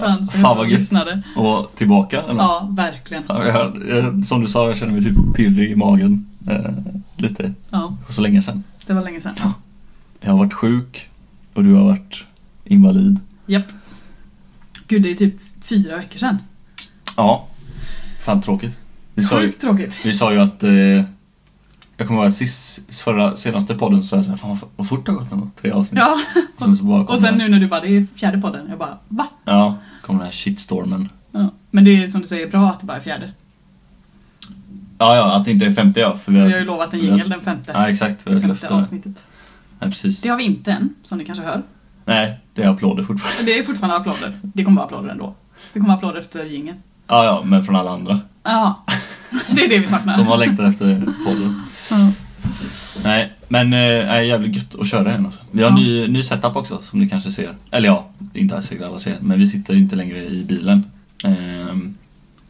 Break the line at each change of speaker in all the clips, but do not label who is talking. fanns
Fan, vad
och
gött. Mm.
lyssnade.
Och tillbaka eller?
Ja, verkligen.
Ja, jag- jag- Som du sa, jag känner mig typ pirrig i magen. Eh, lite.
Ja,
Och så länge sedan.
det var länge sedan.
Jag har varit sjuk och du har varit invalid.
Japp. Gud, det är typ fyra veckor sedan.
Ja. Fan tråkigt. Vi sa ju,
Sjukt tråkigt.
vi sa ju att... Eh, jag kommer ihåg att sist, förra, senaste podden så sa jag såhär, fan vad, vad fort det har gått ändå. Tre avsnitt.
Ja,
Och sen, så bara kom
och sen
den-
nu när du bara, det är fjärde podden. Jag bara, va?
Ja, kom den här shitstormen.
Ja. Men det är som du säger bra att det bara är fjärde.
Ja, ja, att det inte är 50 ja. För
Vi har ju lovat en
vi har-
jingel den femte.
Ja, exakt. Vi har ett
femte
löfte.
avsnittet.
Nej, precis.
Det har vi inte än, som ni kanske hör.
Nej, det är applåder fortfarande.
Men Det är fortfarande applåder. Det kommer vara applåder ändå. Det kommer vara applåder efter jingeln.
Ja, ja, men från alla andra
Ja, det är det vi saknar.
som har längtat efter podden.
Ja.
Nej, men eh, nej, jävligt gött att köra igen. Alltså. Vi har
Ja.
ny, ny setup också som ni kanske ser. Eller ja, inte säkert alla ser, men vi sitter inte längre i bilen. Ehm,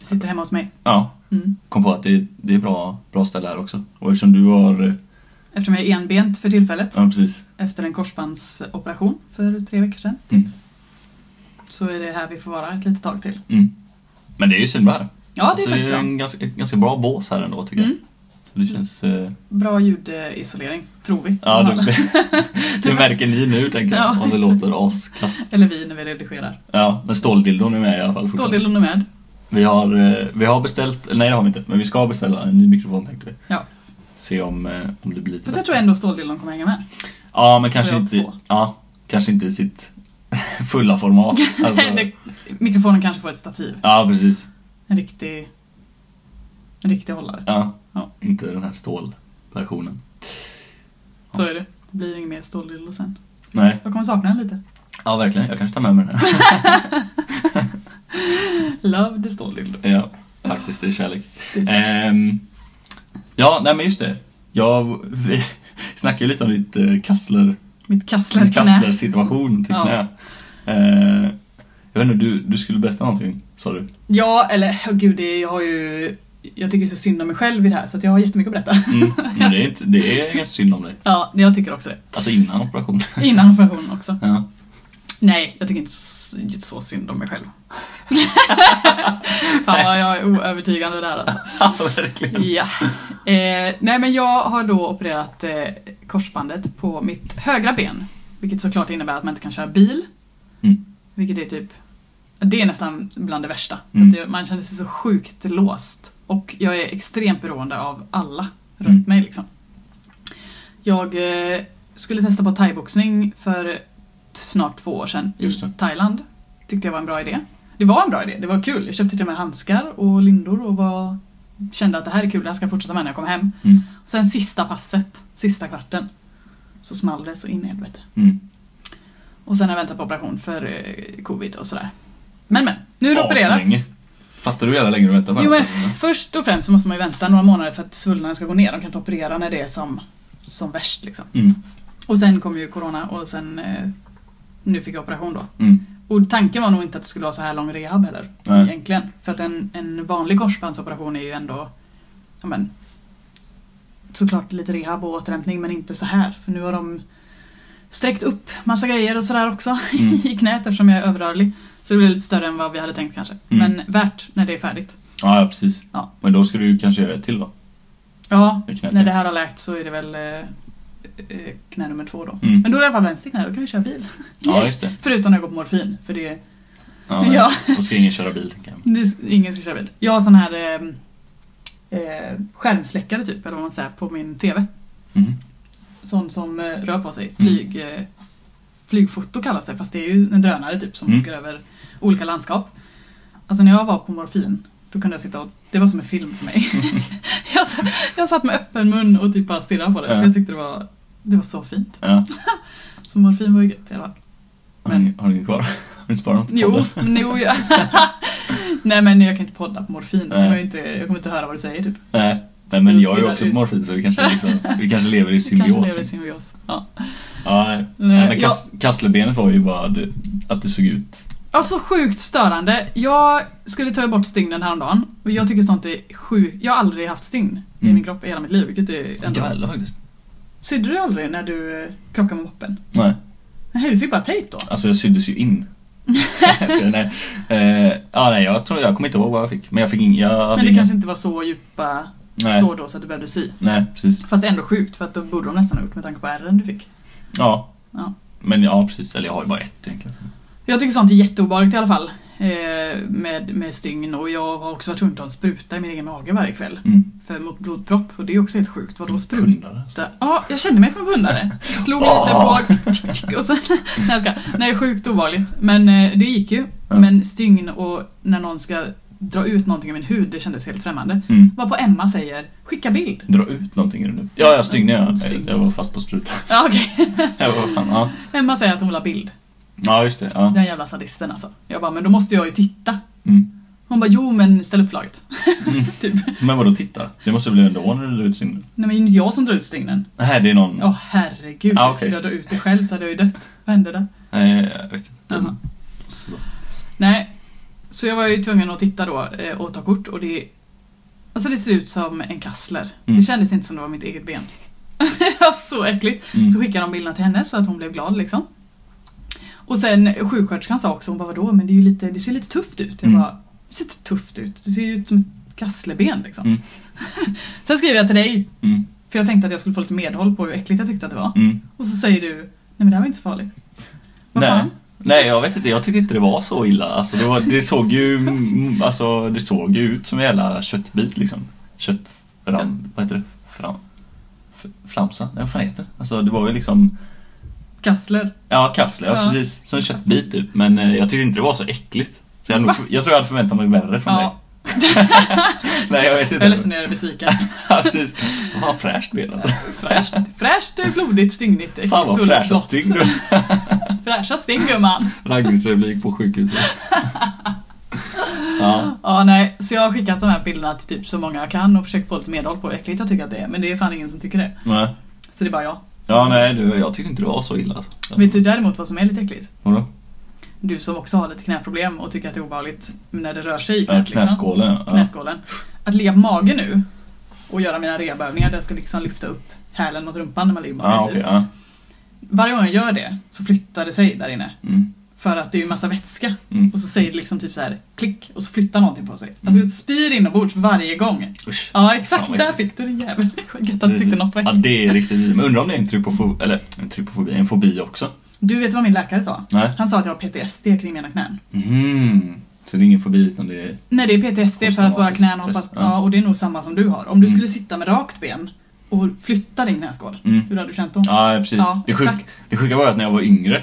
Vi sitter hemma hos mig.
ja,
Mm.
kom på att det, det är bra, bra ställe här också. Och eftersom du har... eh,
Eftersom jag är enbent för tillfället,
Ja, precis.
efter en korsbandsoperation för tre veckor sedan,
Mm.
så är det här vi får vara ett litet tag till.
Mm. Men det är ju svinbra här.
Ja, det är
Alltså,
faktiskt
det är
bra.
en ganska, ett ganska bra bås här ändå tycker jag.
Mm.
Så det känns... Eh,
Bra ljudisolering, tror vi.
ja, det, det märker ni nu tänker jag,
Ja,
om det
exakt.
låter askast.
Eller vi när vi redigerar.
Ja, men ståldildon är med i alla fall fortfarande.
Ståldelen är med.
Vi har, eh, vi har beställt, nej det har vi inte, men vi ska beställa en ny mikrofon tänkte vi.
Ja.
Se om, eh, om det blir lite
Fast jag
bättre.
tror ändå ståldelen kommer hänga med.
Ja, men kanske
jag
inte,
två.
ja, kanske inte i sitt fulla format. Alltså,
Det- Mikrofonen kanske får ett stativ.
ja, precis.
En riktig... En riktig hållare.
Ja.
Ja.
Inte den här stålversionen.
Så är det. Det blir inget mer ståldillo sen.
Nej,
Jag kommer sakna den lite.
ja verkligen. Jag kanske tar med mig den här.
Love the ståldillo.
ja, faktiskt, det är kärlek. Ehm, ja, nej men just det. Jag, vi snackade ju lite om ditt eh, kassler
Mitt
en
kasslerknä.
kasslersituation till
Ja.
knä. Eh, jag vet inte, du, du skulle berätta någonting sa
Mm.
du?
Ja, eller oh, gud, det, jag har ju... Jag tycker så synd om mig själv i det här så att jag har jättemycket att berätta.
Mm. Men det är, inte, det är ganska synd om dig.
Ja, jag tycker också det.
Alltså innan operationen.
Innan operationen också.
Ja.
Nej, jag tycker inte så, inte så synd om mig själv. Fan vad jag är oövertygande där alltså.
ja, verkligen.
Ja. Eh, nej men jag har då opererat eh, korsbandet på mitt högra ben. Vilket såklart innebär att man inte kan köra bil.
Mm.
Vilket är typ... Det är nästan bland det värsta.
Mm.
För att det- Man känner sig så sjukt låst. Och jag är extremt beroende av alla runt
Mm.
mig liksom. Jag eh, skulle testa på thaiboxning för snart två år sedan i
Just det.
Thailand. Tyckte jag var en bra idé. Det var en bra idé, det var kul. Jag köpte till och med handskar och lindor och var, kände att det här är kul, det här ska jag fortsätta med när jag kommer hem.
Mm.
Sen sista passet, sista kvarten, så small det så in i helvete.
Mm.
Och sen har jag väntat på operation för eh, covid och sådär. Men men, nu är det opererat.
Aslänge. Fattar du hur jävla länge du väntar på
Jo,
den?
men först och främst så måste man ju vänta några månader för att svullnaden ska gå ner. De kan inte operera när det är som, som värst liksom.
Mm.
Och sen kom ju corona och sen eh, nu fick jag operation då.
Mm.
Och tanken var nog inte att det skulle vara så här lång rehab heller.
Nej.
Egentligen. För att en, en vanlig korsbandsoperation är ju ändå, ja men, såklart lite rehab och återhämtning men inte så här. För nu har de sträckt upp massa grejer och sådär också
Mm.
i knät eftersom jag är överrörlig. Så det blir lite större än vad vi hade tänkt kanske.
Mm.
Men värt när det är färdigt.
Ja, ja, precis.
Ja.
Men då ska du ju kanske göra ett till då?
Ja,
Med knät,
när
ja.
det här har läkt så är det väl eh, eh, knä nummer två då.
Mm.
Men då är det i alla fall vänster knä, då kan vi köra bil.
Ja, just det.
Förutom när jag går på morfin, för det
Ja, nej.
Ja.
Då ska ingen köra bil tänker jag.
Nu, ingen ska köra bil. Jag har sån här ehm, eh, skärmsläckare typ, eller vad man säger, på min TV.
Mm.
Sån som eh, rör på sig. Flyg, eh, flygfoto kallas det, fast det är ju en drönare typ som
Mm.
åker över olika landskap. Alltså när jag var på morfin, då kunde jag sitta och... Det var som en film för mig. jag, sa- jag satt med öppen mun och typ bara stirrade på det.
Ja.
Jag tyckte det var, det var så fint.
Ja.
Så morfin var ju gött i alla fall.
Har, ni, har ni kvar? Har ni sparat något? på
Jo,
podden?
men jo jag... Nej men jag kan inte podda på morfin.
Nej.
Jag, kommer inte, jag kommer inte höra vad du säger typ.
Nej. Nej, men
Du
jag är ju
spelar
också
ut.
på morfin så vi kanske, liksom, vi kanske lever i
Vi Kanske
symbios.
lever i symbios. Ja.
Ja, nej.
Nej,
Nej, men kas- kasslerbenet var ju bara det, att det såg ut.
ja, så sjukt störande. Jag skulle ta bort stygnen häromdagen och jag tycker sånt är sjukt. Jag har aldrig haft stygn i
Mm.
min kropp i hela mitt liv, vilket är ändå...
heller faktiskt.
Sydde du aldrig när du eh, krockade med moppen?
Nej,
Nej, du fick bara tejp då?
alltså jag syddes ju in. nej. Eh, ja, nej, jag tror jag kommer inte ihåg vad jag fick. Men jag fick ingen... Jag
Men
hade
det
ingen-
kanske inte var så djupa
nej,
så då så att du behövde sy.
nej, precis.
Fast det är ändå sjukt för att då borde de nästan ha gjort med tanke på ärren du fick.
Ja.
Ja.
Men ja, precis. Eller jag har ju bara ett egentligen.
Jag tycker sånt är jätteobehagligt i alla fall. Eh, med, med stygn och jag har också varit tvungen att ta en spruta i min egen mage varje kväll.
Mm. alltså.
För mot blodpropp och det är också helt sjukt. Vadå spruta?
Pundare.
Ja, jag kände mig som en pundare. Slog lite
Ah.
bak tick, tick, och sen... Nej, jag ska. Nej, sjukt obehagligt. Men eh, det gick ju.
Ja.
Men stygn och när någon ska dra ut någonting i min hud, det kändes helt främmande.
Mm.
Varpå Emma säger skicka bild.
Dra ut någonting ur nu. Ja, jag stygg jag.
Stygn.
Jag var fast på strupen.
Ja, okej.
Jag var fan, ja.
Emma säger att hon vill ha bild.
ja, just det. Ja.
Den jävla sadisten alltså. Jag bara, men då måste jag ju titta.
Mm.
Hon bara, jo men ställ upp laget.
Mm.
typ.
Men vadå titta? Det måste bli ändå när du drar ut stygnen?
Nej men det är ju jag som drar ut stygnen.
Nej, det är någon...
Ja herregud,
Ah, okej.
skulle jag dra ut det själv så hade jag ju dött. Vad hände där?
Nej, jag vet inte.
Jaha.
Så.
Nej. Så jag var ju tvungen att titta då eh, och ta kort och det... Alltså det ser ut som en kassler.
Mm.
Det kändes inte som det var mitt eget ben. det var så äckligt.
Mm.
Så skickade de bilderna till henne så att hon blev glad liksom. Och sen eh, sjuksköterskan sa också, hon bara vadå men det, är ju lite, det ser lite tufft ut. Jag
Mm.
bara, det ser inte tufft ut. Det ser ju ut som ett kasslerben liksom.
Mm.
sen skrev jag till dig,
Mm.
för jag tänkte att jag skulle få lite medhåll på hur äckligt jag tyckte att det var.
Mm.
Och så säger du, nej men det här var inte så farligt. Vad
Nej.
fan?
Nej, jag vet inte. Jag tyckte inte det var så illa. Alltså, det, var, det, såg ju, mm, alltså, det såg ju ut som en jävla köttbit liksom. Köttfram... Vad heter det? Fram... f- Flamsa? Nej, vad fan heter det? Alltså, det var ju liksom...
Kassler.
Ja, kassler. Ja,
Ja.
precis. Som en köttbit typ. Men eh, jag tyckte inte det var så äckligt. Så jag, hade nog,
Va?
jag tror jag hade förväntat mig värre från dig.
Ja,
Nej, jag vet
jag är ledsen
inte.
när jag är besviken.
Ja, precis. Vad fräscht ben alltså.
Fräscht, fräscht blodigt, stygnigt, äckligt,
Fan vad
soligt,
fräscha
blått.
stygn du
Fräscha stygn gumman.
Raggningsreplik på sjukhuset. Ja.
Ja, nej. Så jag har skickat de här bilderna till typ så många jag kan och försökt få lite medhåll på hur äckligt jag tycker att det är. Men det är fan ingen som tycker det.
Nej.
Så det är bara jag.
Ja, nej du, jag tyckte inte det var så illa. Alltså.
Vet du däremot vad som är lite äckligt?
Vadå?
Du som också har lite knäproblem och tycker att det är obehagligt när det rör sig i
Ja,
knät. Liksom.
Knäskålen, Äh, ja.
Knäskålen. Att ligga på mage nu och göra mina rehabövningar där jag ska liksom lyfta upp hälen mot rumpan när man ligger på typ. mage.
Ja, Ah, okej. Ja.
Varje gång jag gör det så flyttar det sig där inne.
Mm.
För att det är ju massa vätska.
Mm.
Och så säger det liksom typ så här klick och så flyttar någonting på sig. Alltså jag spyr inombords varje gång.
Usch.
Ja
Fan,
exakt,
vad
där
äckligt.
fick du det jävel. Gött att du tyckte något var
Ja,
äckligt.
det är riktigt Men undrar om det är en trypofobi, eller en trypofobi, en fobi också?
Du vet vad min läkare sa?
Nej.
Han sa att jag har PTSD kring mina knän.
Mm. Så det är ingen fobi utan det är...
Nej det är PTSD för att våra knän har
Posttraumatisk
hoppat...
stress, ja.
Ja och det är nog samma som du har. Om du
Mm.
skulle sitta med rakt ben och flytta din knäskål.
Mm.
Hur hade du känt då?
Ja, precis.
Ja,
det, sjuk,
exakt.
det sjuka var ju att när jag var yngre,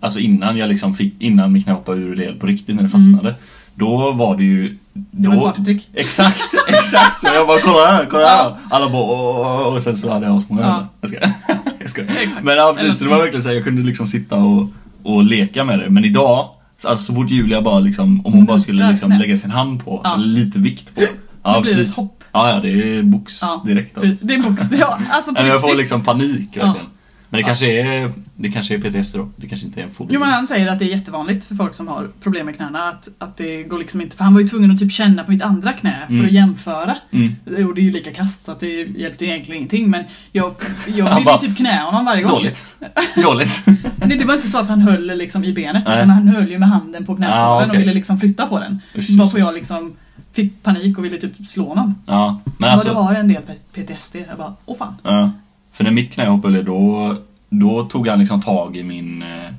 alltså innan jag liksom fick, innan min knä hoppade ur led på riktigt när det fastnade, då var det ju...
Mm. Det
Då,
var ett partytrick.
Exakt, exakt! Så jag bara kolla här, kolla här!
Ja.
Alla bara "Åh, åh, åh", och sen så hade jag asmånga
Ja.
vänner. Jag skojar. Jag skojar.
Exakt.
Men ja, precis, så det var verkligen så här, jag kunde liksom sitta och, och leka med det. Men idag, så- alltså så fort Julia bara liksom, om hon bara skulle
Mutar
liksom
knät.
lägga sin hand på,
Ja.
eller lite vikt på. Ja,
Då blir det
precis.
ett hopp.
Ja, ja, det är box
Ja.
direkt alltså.
Det är bokstavligt. Ja, alltså på
Eller jag får
riktigt.
liksom panik
Ja.
verkligen. Men det kanske är, det kanske är PTSD då. Det kanske inte är en fobi.
Jo men han säger att det är jättevanligt för folk som har problem med knäna att, att det går liksom inte, för han var ju tvungen att typ känna på mitt andra knä för
Mm.
att jämföra.
Mm.
Jag gjorde ju lika kast så att det hjälpte ju egentligen ingenting men jag, jag
Han
ville
bara,
ju typ knä honom varje gång.
Dåligt. Dåligt.
Nej det var inte så att han höll liksom i benet
Nej.
utan han höll ju med handen på knäskålen
Ah, okej.
och ville liksom flytta på den.
Usch, usch,
Varpå
usch.
jag liksom fick panik och ville typ slå honom.
Ja, men
Alltså... Du
alltså.
har en del PTSD. Jag bara, åh fan.
Ja. För när mitt knä hoppade då, då tog han liksom tag i min, eh,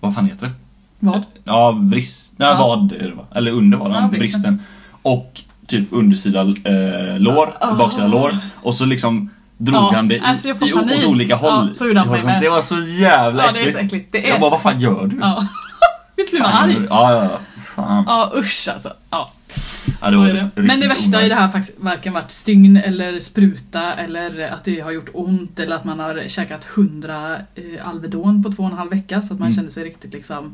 vad fan heter det?
Vad?
Ja, vrist. Nej,
Ja.
vad är det va? Eller under var det,
Ja,
vristen.
vristen.
Och typ undersida eh, lår,
Ah.
baksida lår. Och så liksom drog
Ja,
han det i,
alltså jag får
i, åt
panik.
olika håll.
Ja, så gjorde han
det,
mig
var,
med.
det var så jävla
Ja det är
äckligt.
så äckligt. Det är
Jag
så...
bara, vad fan gör du?
Ja. Visst blir man
Fan,
arg?
gör du? Ja, ja, ja. Fan.
Ja usch alltså. Ja.
Ja, det
Så
var
är det.
riktigt
Men det värsta i det här har faktiskt varken varit stygn eller spruta eller att det har gjort ont eller att man har käkat 100 eh, Alvedon på två och en halv vecka så att man
Mm.
kände sig riktigt liksom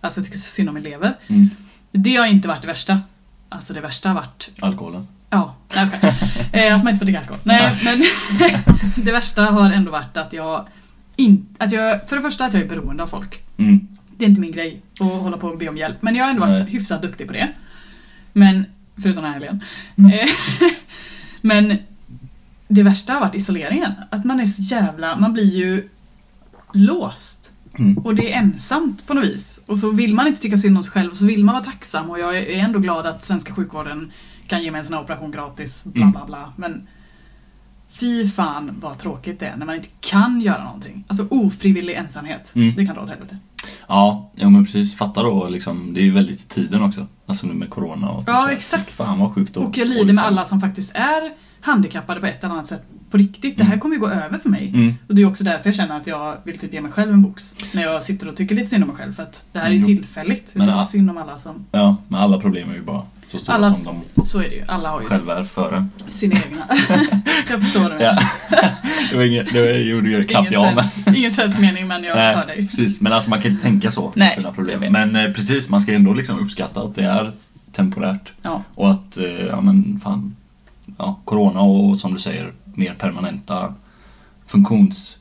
Alltså jag tycker så synd om min lever.
Mm.
Det har inte varit det värsta. Alltså det värsta har varit,
Alkoholen.
ja, nej jag skojar. eh, Att man inte får dricka alkohol. Nej men det värsta har ändå varit att jag inte, att jag, för det första att jag är beroende av folk.
Mm.
Det är inte min grej att hålla på och be om hjälp. Men jag har ändå varit
Nej.
hyfsat duktig på det. Men, förutom den här helgen.
Mm.
Eh, Men det värsta har varit isoleringen. Att man är så jävla, man blir ju låst.
Mm.
Och det är ensamt på något vis. Och så vill man inte tycka synd om sig själv, så vill man vara tacksam och jag är ändå glad att svenska sjukvården kan ge mig en sån här operation gratis, bla
Mm.
bla bla. Men fy fan vad tråkigt det är när man inte kan göra någonting. Alltså ofrivillig ensamhet,
Mm.
det kan dra åt helvete.
Ja, ja men precis. Fatta då liksom, det är ju väldigt i tiden också. Alltså nu med corona och typ
Ja,
så här.
exakt.
Fan vad sjukt då. liksom-
Och jag lider med alla som faktiskt är handikappade på ett eller annat sätt på riktigt. Det här kommer ju gå över för mig.
Mm.
Och det är också därför jag känner att jag vill typ ge mig själv en box. När jag sitter och tycker lite synd om mig själv. För att det här är ju
Jo.
tillfälligt. Jag
Men,
tycker
ja.
synd om alla som...
Ja, men alla problem är ju bara så stora
Alla,
som
så är det ju. Alla har ju
de själva är för en.
sina egna. jag förstår det.
Ja. det var inget, det var- gjorde ju knappt jag men. Eh,
sens, ingen sens mening men jag hör dig.
precis. Men alltså man kan inte tänka så
Nej,
på sina problem.
jag vet.
Men eh, precis, man ska ändå liksom uppskatta att det är temporärt.
Ja.
Och att, eh, ja men fan. Ja, corona och som du säger, mer permanenta funktions...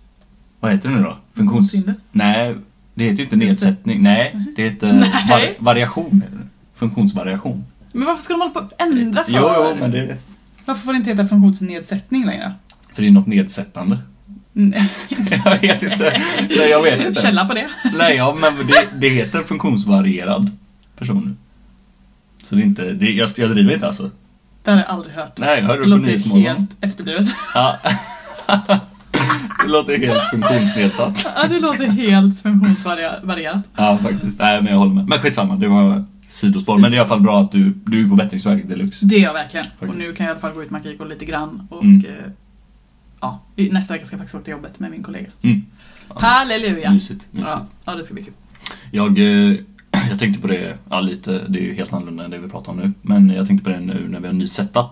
Vad heter det nu då? Funktions...
Funktionshinder?
Nej, det heter ju inte
Nedsätt- Mhm.
nedsättning. Nej, det heter
Nej.
var- variation. heter det. Funktionsvariation.
Men varför ska de hålla på att ändra för?
Jo, jo, men det...
Varför får det inte heta funktionsnedsättning längre?
För det är något nedsättande.
Mm.
Jag vet inte. Nej, jag vet inte.
Källa på det.
Nej, ja, men det, det heter funktionsvarierad person nu. Så det är inte, det, jag, jag driver inte alltså.
Det har jag aldrig hört.
Nej, jag hörde
Det
det på
låter
Nyhetsmorgon.
helt efterblivet.
Ja. det låter helt funktionsnedsatt.
Ja, det låter helt funktionsvarierat.
Ja, faktiskt. Nej, men jag håller med. Men skitsamma, det var sidospår. Men det är i alla fall bra att du, du är på bättringsvägen deluxe.
Det är jag verkligen.
Faktiskt.
Och nu kan jag i alla fall gå ut med Akiko lite grann. Och
Mm.
eh, ja, i- nästa vecka ska jag faktiskt åka till jobbet med min kollega.
Mm.
Halleluja!
Mysigt, mysigt.
Ja, ja, det ska bli kul.
Jag, eh, jag tänkte på det, ja lite, det är ju helt annorlunda än det vi pratar om nu. Men jag tänkte på det nu när vi har en ny setup.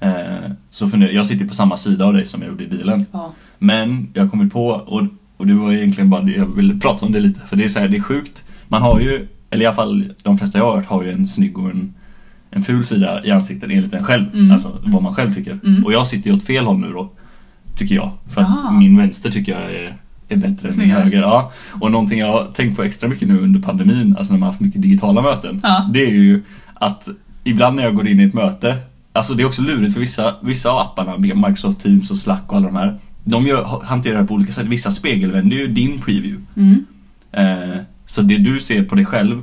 Eh, Så funderar, jag sitter på samma sida av dig som jag gjorde i bilen.
Ja.
Men jag kom ju på, och, och det var egentligen bara det jag ville prata om det lite. För det är så här, det är sjukt. Man har ju, eller i alla fall de flesta jag har hört har ju en snygg och en, en ful sida i ansiktet enligt en själv.
Mm.
Alltså vad man själv tycker.
Mm.
Och jag sitter ju åt fel håll nu då. Tycker jag. För att
Ah.
min vänster tycker jag är, är bättre än min
Snyggare.
höger. Ja. Och någonting jag har tänkt på extra mycket nu under pandemin, alltså när man har haft mycket digitala möten.
Ja.
Det är ju att ibland när jag går in i ett möte, alltså det är också lurigt för vissa, vissa av apparna, Microsoft Teams och Slack och alla de här, de gör, hanterar det på olika sätt. Vissa spegelvänder ju din preview.
Mm.
Eh, så det du ser på dig själv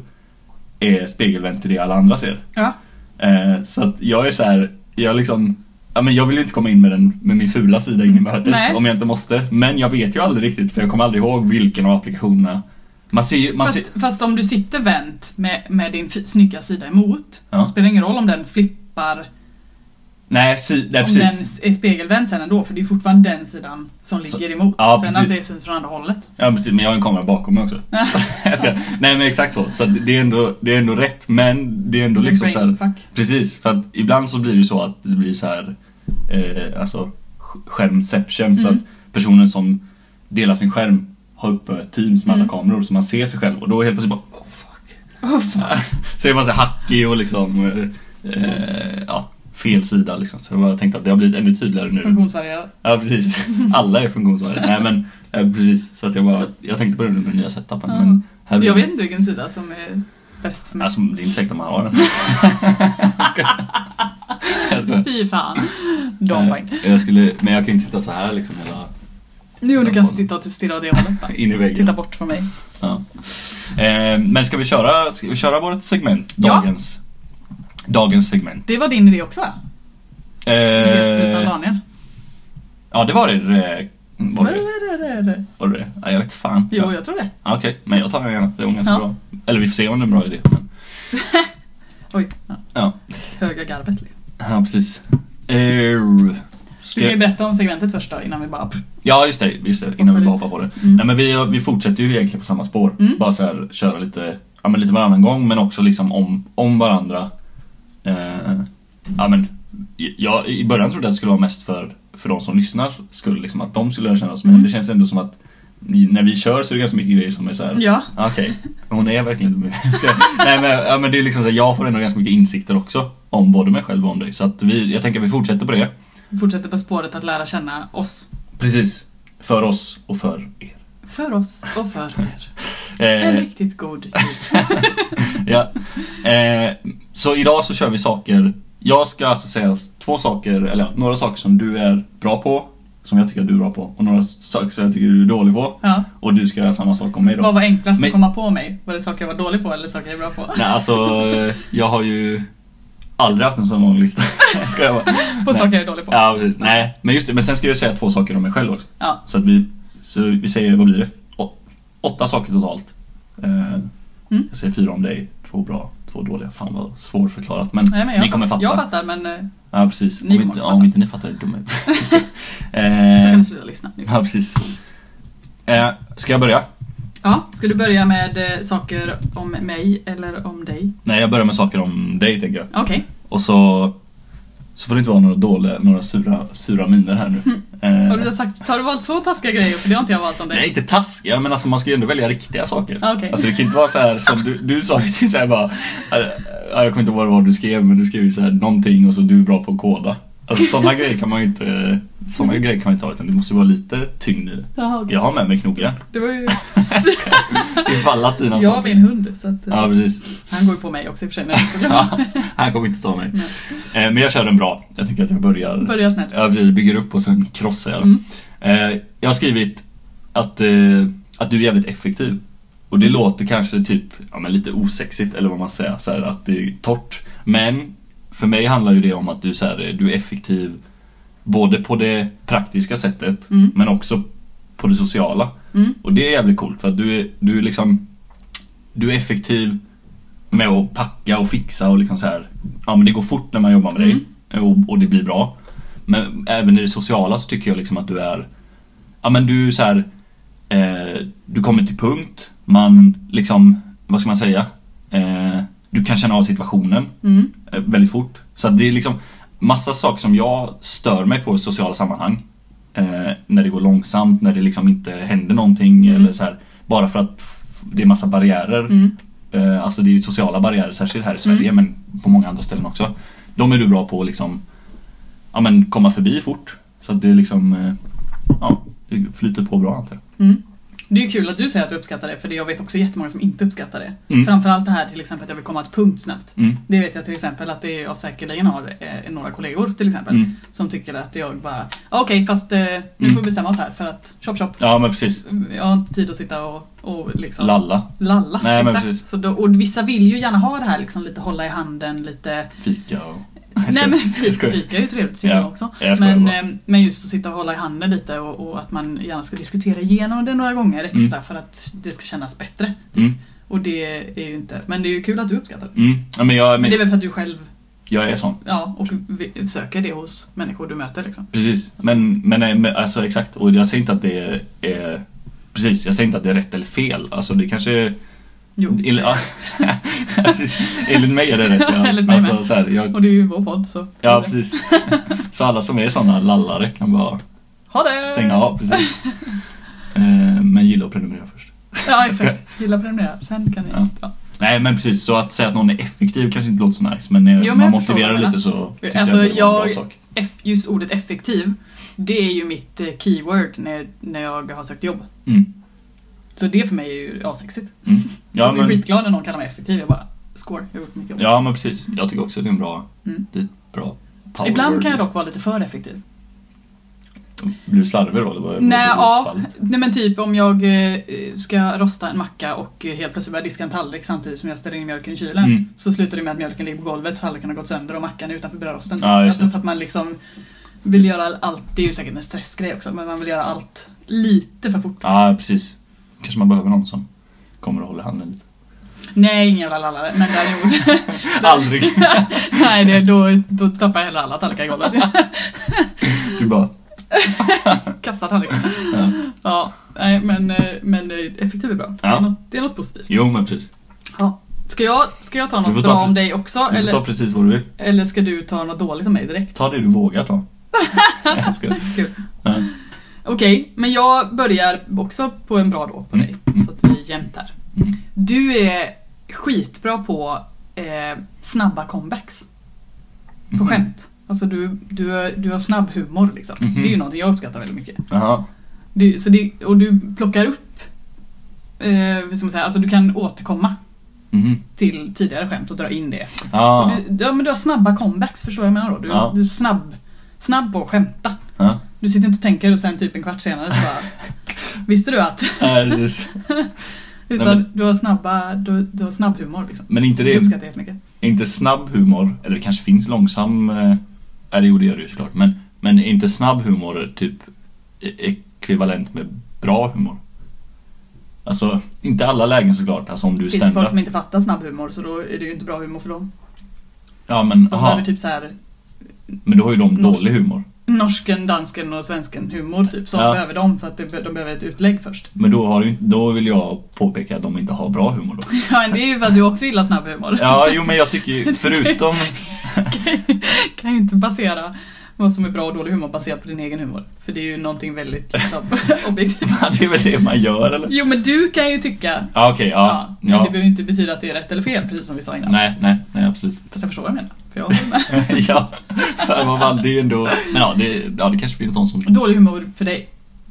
är spegelvänt till det alla andra ser.
Ja.
Eh, så att jag är så här, jag liksom Ja, men jag vill ju inte komma in med, den, med min fula sida in i mötet
Mm. Nej.
om jag inte måste. Men jag vet ju aldrig riktigt för jag kommer aldrig ihåg vilken av applikationerna. Man ser ju- man ser,
Fast, fast om du sitter vänt med, med din f- snygga sida emot
Ja.
så spelar det ingen roll om den flippar,
nej, si, nej
om
precis.
den är spegelvänd sen ändå för det är fortfarande den sidan som
Så-
ligger emot.
Ja,
sen att
precis.
det syns från andra hållet.
Ja precis, men jag har en kamera bakom mig också. jag ska, nej men exakt så. Så att det, är ändå, det är ändå rätt men det är ändå liksom så här,
Brainfuck.
Precis, för att ibland så blir det ju så att det blir så här eh, alltså sk- skärmception så att
Mm.
personen som delar sin skärm har uppe Teams med alla
Mm.
kameror så man ser sig själv och då helt plötsligt bara oh, fuck.
Åh, fan.
Så är man så här hackig och liksom eh, eh, ja, fel sida liksom. Så jag bara tänkte att det har blivit ännu tydligare
Mm.
nu.
Funktionsvarierad.
Ja precis, alla är funktionsvarierade. Nej men eh, precis, så att jag bara, jag tänkte på det nu med den nya setupen.
Ja.
Men här blir
Jag
det-
vet inte vilken sida som är bäst för mig.
Alltså det är inte säkert att man har den. jag skojar. Jag skojar.
Fy fan. De
Eh,
poäng.
Jag skulle, men jag kan ju inte sitta så här liksom hela
Nu du kan titta och stirra åt det hållet bara.
in i väggen.
Titta bort från mig.
Ja. Eh, men ska vi köra, ska vi köra vårt segment?
Ja.
Dagens, dagens segment.
Det var din idé också va? Gästsprutan
Eh,
Daniel.
ja det var det. eh, Var
Eller,
det
eller, eller, eller.
var det? det? Ja, jag vet fan.
Jo, jag tror det.
Ja, Okej, men jag tar den gärna. Det var ganska
Ja.
bra. Eller vi får se om det är en bra idé. Men,
Oj, ja.
ja.
höga garvet liksom.
ja, precis. Eh,
Du
ska-
kan ju berätta om segmentet först då innan vi bara...
Ja just det, just det innan vi bara
Hoppar ut.
hoppar på det.
Mm.
Nej, men vi, vi fortsätter ju egentligen på samma spår.
Mm.
Bara så här, köra lite, ja, men lite varannan gång men också liksom om, om varandra. Eh, ja, men, jag, I början trodde jag att det skulle vara mest för, för de som lyssnar, skulle, liksom, att de skulle lära känna oss. Men
Mm.
det känns ändå som att ni- när vi kör så är det ganska mycket grejer som är så här.
Ja.
"Ah, Okej, hon är verkligen inte med." Så jag- Nej men, ja, men det är liksom så här, jag får ändå ganska mycket insikter också. Om både mig själv och om dig. Så att vi, jag tänker att vi fortsätter på det.
Vi fortsätter på spåret att lära känna oss.
Precis. För oss och för er.
För oss och för er. En
Eh,
riktigt god tid.
ja. eh, så idag så kör vi saker. Jag ska alltså säga s- två saker, eller ja, några saker som du är bra på. som jag tycker att du är bra på och några saker som jag tycker du är dålig på.
Ja.
Och du ska göra samma sak om mig då.
Vad var enklast
Men-
att komma på mig? Var det saker jag var dålig på eller saker jag är bra på?
Nej, alltså eh, jag har ju aldrig haft en sån lång lista. ska jag bara.
på
nej.
saker jag är dålig på?
Ja, precis. Nej, men just det. Men sen ska jag säga två saker om mig själv också.
Ja.
Så att vi, så vi säger, vad blir det? Å- åtta saker totalt. Eh,
Mm.
Jag säger fyra om dig, två bra, två dåliga. Fan vad svårförklarat. Men,
Nej, men jag,
ni kommer fatta.
Jag fattar men eh,
Ja, precis.
Ni
om,
kommer
inte,
också
ja,
fatta.
om inte ni fattar är dumma
jag
eh,
kan sluta lyssna nu.
Ja, precis. Eh, ska jag börja?
Ja, ska du börja med eh, saker om mig eller om dig?
Nej, jag börjar med saker om dig tänker jag.
Okej.
Och så, så får det inte vara några dåliga, några sura, sura miner här nu. Eh,
Mm. Har du sagt, har du valt så taskiga grejer? För det har inte jag valt om dig.
Nej, inte taskiga, men alltså man ska ju ändå välja riktiga saker.
Ah, okej.
Alltså det kan inte vara så här som du, du sa ju till så här bara, äh, jag kommer inte ihåg vad det var du skrev, men du skrev ju så här någonting och så du är bra på att koda. Alltså sådana grejer kan man ju inte, sådana grejer kan man inte ha utan det måste ju vara lite tyngd i det.
Jaha, okej.
Jag har med mig knogjärn.
Det var ju...
Ifall att dina
jag har min hund så att, eh,
Ja, precis.
han går ju på mig också i och för sig. Men
Ja, han kommer inte ta mig.
Nej.
Eh, Men jag kör den bra. Jag tänker att jag börjar
börja snällt.
Jag blir- bygger upp och sen krossar jag den.
Mm.
Eh, jag har skrivit att, eh, att du är jävligt effektiv. Och det
Mm.
låter kanske typ ja, men lite osexigt eller vad man säger, så här, att det är torrt. Men för mig handlar ju det om att du, så här, du är effektiv både på det praktiska sättet
Mm.
men också på det sociala.
Mm.
Och det är jävligt coolt för att du är, du är liksom Du är effektiv med att packa och fixa och liksom så här. Ja men det går fort när man jobbar med dig och, och det blir bra. Men även i det sociala så tycker jag liksom att du är Ja men du är så här eh, Du kommer till punkt Man liksom Vad ska man säga? Eh, du kan känna av situationen
Mm.
eh, väldigt fort. Så att det är liksom massa saker som jag stör mig på i sociala sammanhang. Eh, när det går långsamt, när det liksom inte händer någonting
Mm.
eller så här. Bara för att f- det är massa barriärer.
Mm.
Eh, alltså det är ju sociala barriärer, särskilt här i Sverige men på många andra ställen också. De är du bra på att liksom, ja men komma förbi fort. Så att det är liksom, eh, ja, det flyter på bra antar jag.
Mm. Det är ju kul att du säger att du uppskattar det, för det jag vet också jättemånga som inte uppskattar det.
Mm.
Framförallt det här till exempel att jag vill komma till punkt snabbt.
Mm.
Det vet jag till exempel att det är jag säkerligen har eh, några kollegor till exempel.
Mm.
Som tycker att jag bara, "Ja, okej fast eh, nu
Mm.
får vi bestämma oss här för att chop chop.
Ja men precis,
Jag har inte tid att sitta och, och liksom
lalla,
lalla.
Nej, men
Exakt.
precis.
Så då, och vissa vill ju gärna ha det här liksom lite hålla i handen, lite
fika och...
Nej men
Jag skojar.
fika, fika är ju trevligt tycker
Ja,
jag också.
jag skojar
men,
bara.
eh, men just att sitta och hålla i handen lite och, och att man gärna ska diskutera igenom det några gånger extra för att det ska kännas bättre.
Mm,
Och det är ju inte, men det är ju kul att du uppskattar det.
mm. Ja, men
Men
jag,
det är
men,
väl för att du själv
jag är sån.
ja, och vi- söker det hos människor du möter liksom.
Precis, men, men, nej, men alltså exakt. Och jag säger inte att det är... Precis, jag säger inte att det är rätt eller fel. Alltså det kanske är...
Jo.
Enligt, alltså, enligt mig är det rätt. Ja.
Enligt mig
alltså,
med.
så här, jag,
Och det är ju vår podd så.
ja, precis. Så alla som är sådana lallare kan bara
Ha det!
stänga av. Precis. Eh, Men gilla och prenumerera först.
Ja exakt. Gilla prenumerera, sen kan ni...
Ja.
Ja.
Nej men precis, så att säga att någon är effektiv kanske inte låter så nice. Men
Jo,
när
men
man
jag förstår
motiverar
vad du
lite så tycker
Alltså,
jag att det var en bra
jag-
sak.
Eff- Just ordet effektiv, det är ju mitt eh, keyword när, när jag har sökt jobb.
Mm.
Så det för mig är ju asexigt.
Mm.
jag
Ja,
blir
men,
skitglad när någon kallar mig effektiv. Jag bara, score, jag har gjort mitt jobb.
ja men precis, jag tycker också det är en bra...
Mm.
Det är ett bra power
Ibland
word,
kan jag
liksom.
dock vara lite för effektiv.
Blir du slarvig då? Eller vad
Nej, ja.
vad blir ditt fall?
Nej men typ om jag eh, ska rosta en macka och eh, helt plötsligt börjar diska en tallrik samtidigt som jag ställer in mjölken i kylen.
Mm.
Så slutar det med att mjölken ligger på golvet, tallriken har gått sönder och mackan är utanför brödrosten.
Ja, just det.
alltså för att man liksom vill göra allt, det är ju säkert en stressgrej också, men man vill göra allt lite för fort.
Ja, precis. Kanske man behöver någon som kommer och håller handen lite.
Nej, ingen jävla lallare, men däremot...
Aldrig.
Nej, det, då, då tappar jag hellre alla tallrikar i golvet.
Du bara,
Kastar tallriken.
Ja.
Ja, nej, men, eh, men eh, effektiv är bra. Det,
Ja.
är något, det är något positivt.
jo men precis.
Ja. Ska, jag, ska jag ta
Du får
något
ta
bra
pre-
om dig också?
Du får
Eller,
ta precis vad du vill.
eller ska du ta något dåligt om mig direkt?
Ta det du vågar ta. Jag skojar.
Kul.
Ja.
Okej, men jag börjar också på en bra då på
Mm.
dig.
Mm.
Så att vi är jämnt här.
Mm.
Du är skitbra på eh, snabba comebacks. På
Mhm.
skämt. Alltså du, du, har- du har snabb humor liksom.
Mhm.
Det är ju någonting jag uppskattar väldigt mycket.
Jaha.
Du, så det, och du plockar upp, eh, som man säger, alltså du kan återkomma
Mhm.
till tidigare skämt och dra in det.
Ja.
Och Du, ja, men du har snabba comebacks, förstår jag vad jag menar då? Du,
Ja.
du är snabb, snabb på att skämta.
Ja.
Du sitter inte och tänker och sen typ en kvart senare så bara Visste du att?
Nej, precis.
Utan
Nej, men-
du har snabba, du, du har snabb humor liksom.
Men inte
Det
det,
uppskattar jag jättemycket.
inte snabb humor, eller det kanske finns långsam, eh, eller jo det gör det ju såklart, men, men inte snabb humor typ e- ekvivalent med bra humor. Alltså, inte alla lägen såklart, alltså om du
Det finns ju
ständer
folk som inte fattar snabb humor så då är det ju inte bra humor för dem.
Ja men,
De
aha,
behöver typ så här
men då har ju de
Norsk-
dålig humor.
norsken, dansken och svensken humor typ. Sånt
Ja.
behöver de för att det, be- de behöver ett utlägg först.
Men då, har du, inte- då vill jag påpeka att de inte har bra humor då.
Ja men det är ju för att du också gillar snabb humor.
Ja, jo men jag tycker ju, förutom...
Kan- kan ju inte basera vad som är bra och dålig humor baserat på din egen humor. För det är ju någonting väldigt liksom, objektivt.
Det är väl det man gör eller?
Jo men du kan ju tycka
Ja okej, ja.
men det
ja.
behöver ju inte betyda att det är rätt eller fel precis som vi sa innan.
Nej, nej, nej absolut.
Fast jag förstår vad jag menar. För jag håller med.
ja, fan vad man, det är ändå... Men ja det, ja, det kanske finns någon som...
Dålig humor för dig.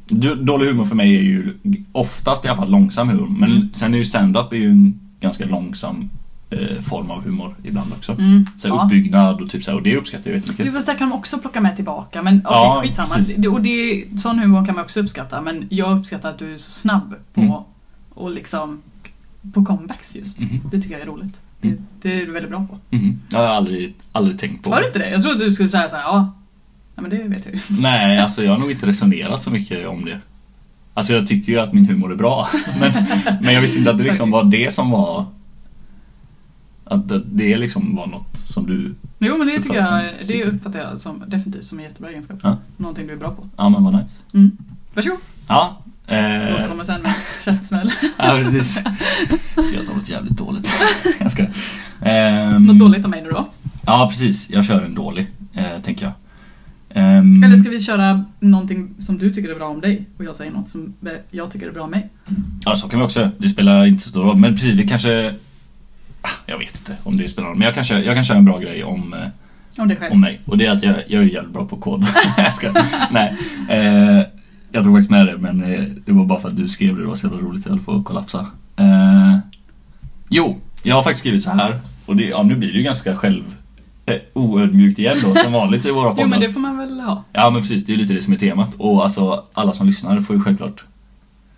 Du- Dålig humor för mig är ju oftast i alla fall långsam humor. Men
Mm.
sen är ju stand-up är ju en ganska långsam eh, form av humor ibland också.
Mm.
Så här,
Ja.
uppbyggnad och typ så här, och det uppskattar jag
Du
jättemycket.
fast där kan de också plocka med tillbaka. Men okej,
Ja,
skitsamma.
precis.
Det, och det, sån humor kan man också uppskatta. Men jag uppskattar att du är så snabb på
Mm.
och liksom på comebacks just.
Mhm.
Det tycker jag är roligt. Det,
Mm.
det är du väldigt bra på.
Mhm. Jag har aldrig, aldrig tänkt på
Var du inte det? Jag trodde du skulle säga såhär, ja. Ja men det vet jag ju.
Nej, alltså jag har nog inte resonerat så mycket om det. Alltså jag tycker ju att min humor är bra. Men, men jag visste inte att det liksom var det som var... Att att det liksom var något som du...
Jo men det tycker
Uppfattar
jag,
som-
det uppfattar jag som, definitivt som en jättebra egenskap.
Ja.
Någonting du är bra på.
Ja men vad nice.
Mm. Varsågod!
Ja.
Jag
Eh,
återkommer sen med käftsmäll.
ja precis. Ska jag ta något jävligt dåligt? jag ska. Ehm,
Något dåligt av mig nu då.
Ja precis, jag kör en dålig. Eh, tänker jag. Ehm,
Eller ska vi köra någonting som du tycker är bra om dig och jag säger något som jag tycker är bra om mig?
Ja så kan vi också göra. Det spelar inte så stor roll. Men precis, vi kanske... Ah, Jag vet inte om det spelar roll. Men jag kan köra, jag kan köra en bra grej om... Eh,
Om dig själv.
om mig. Och det är att jag, jag är ju jävligt bra på kod. jag ska, nej. Eh, jag drog faktiskt med det men eh, det var bara för att du skrev det. Det var så jävla roligt. Jag höll på att kollapsa. Eh, jo, jag har faktiskt skrivit så här. Och det, ja, nu blir det ju ganska själv... Eh, oödmjukt igen då som vanligt i våra
Jo
poddar.
men det får man väl ha.
Ja men precis, det är ju lite det som är temat. Och alltså alla som lyssnar får ju självklart...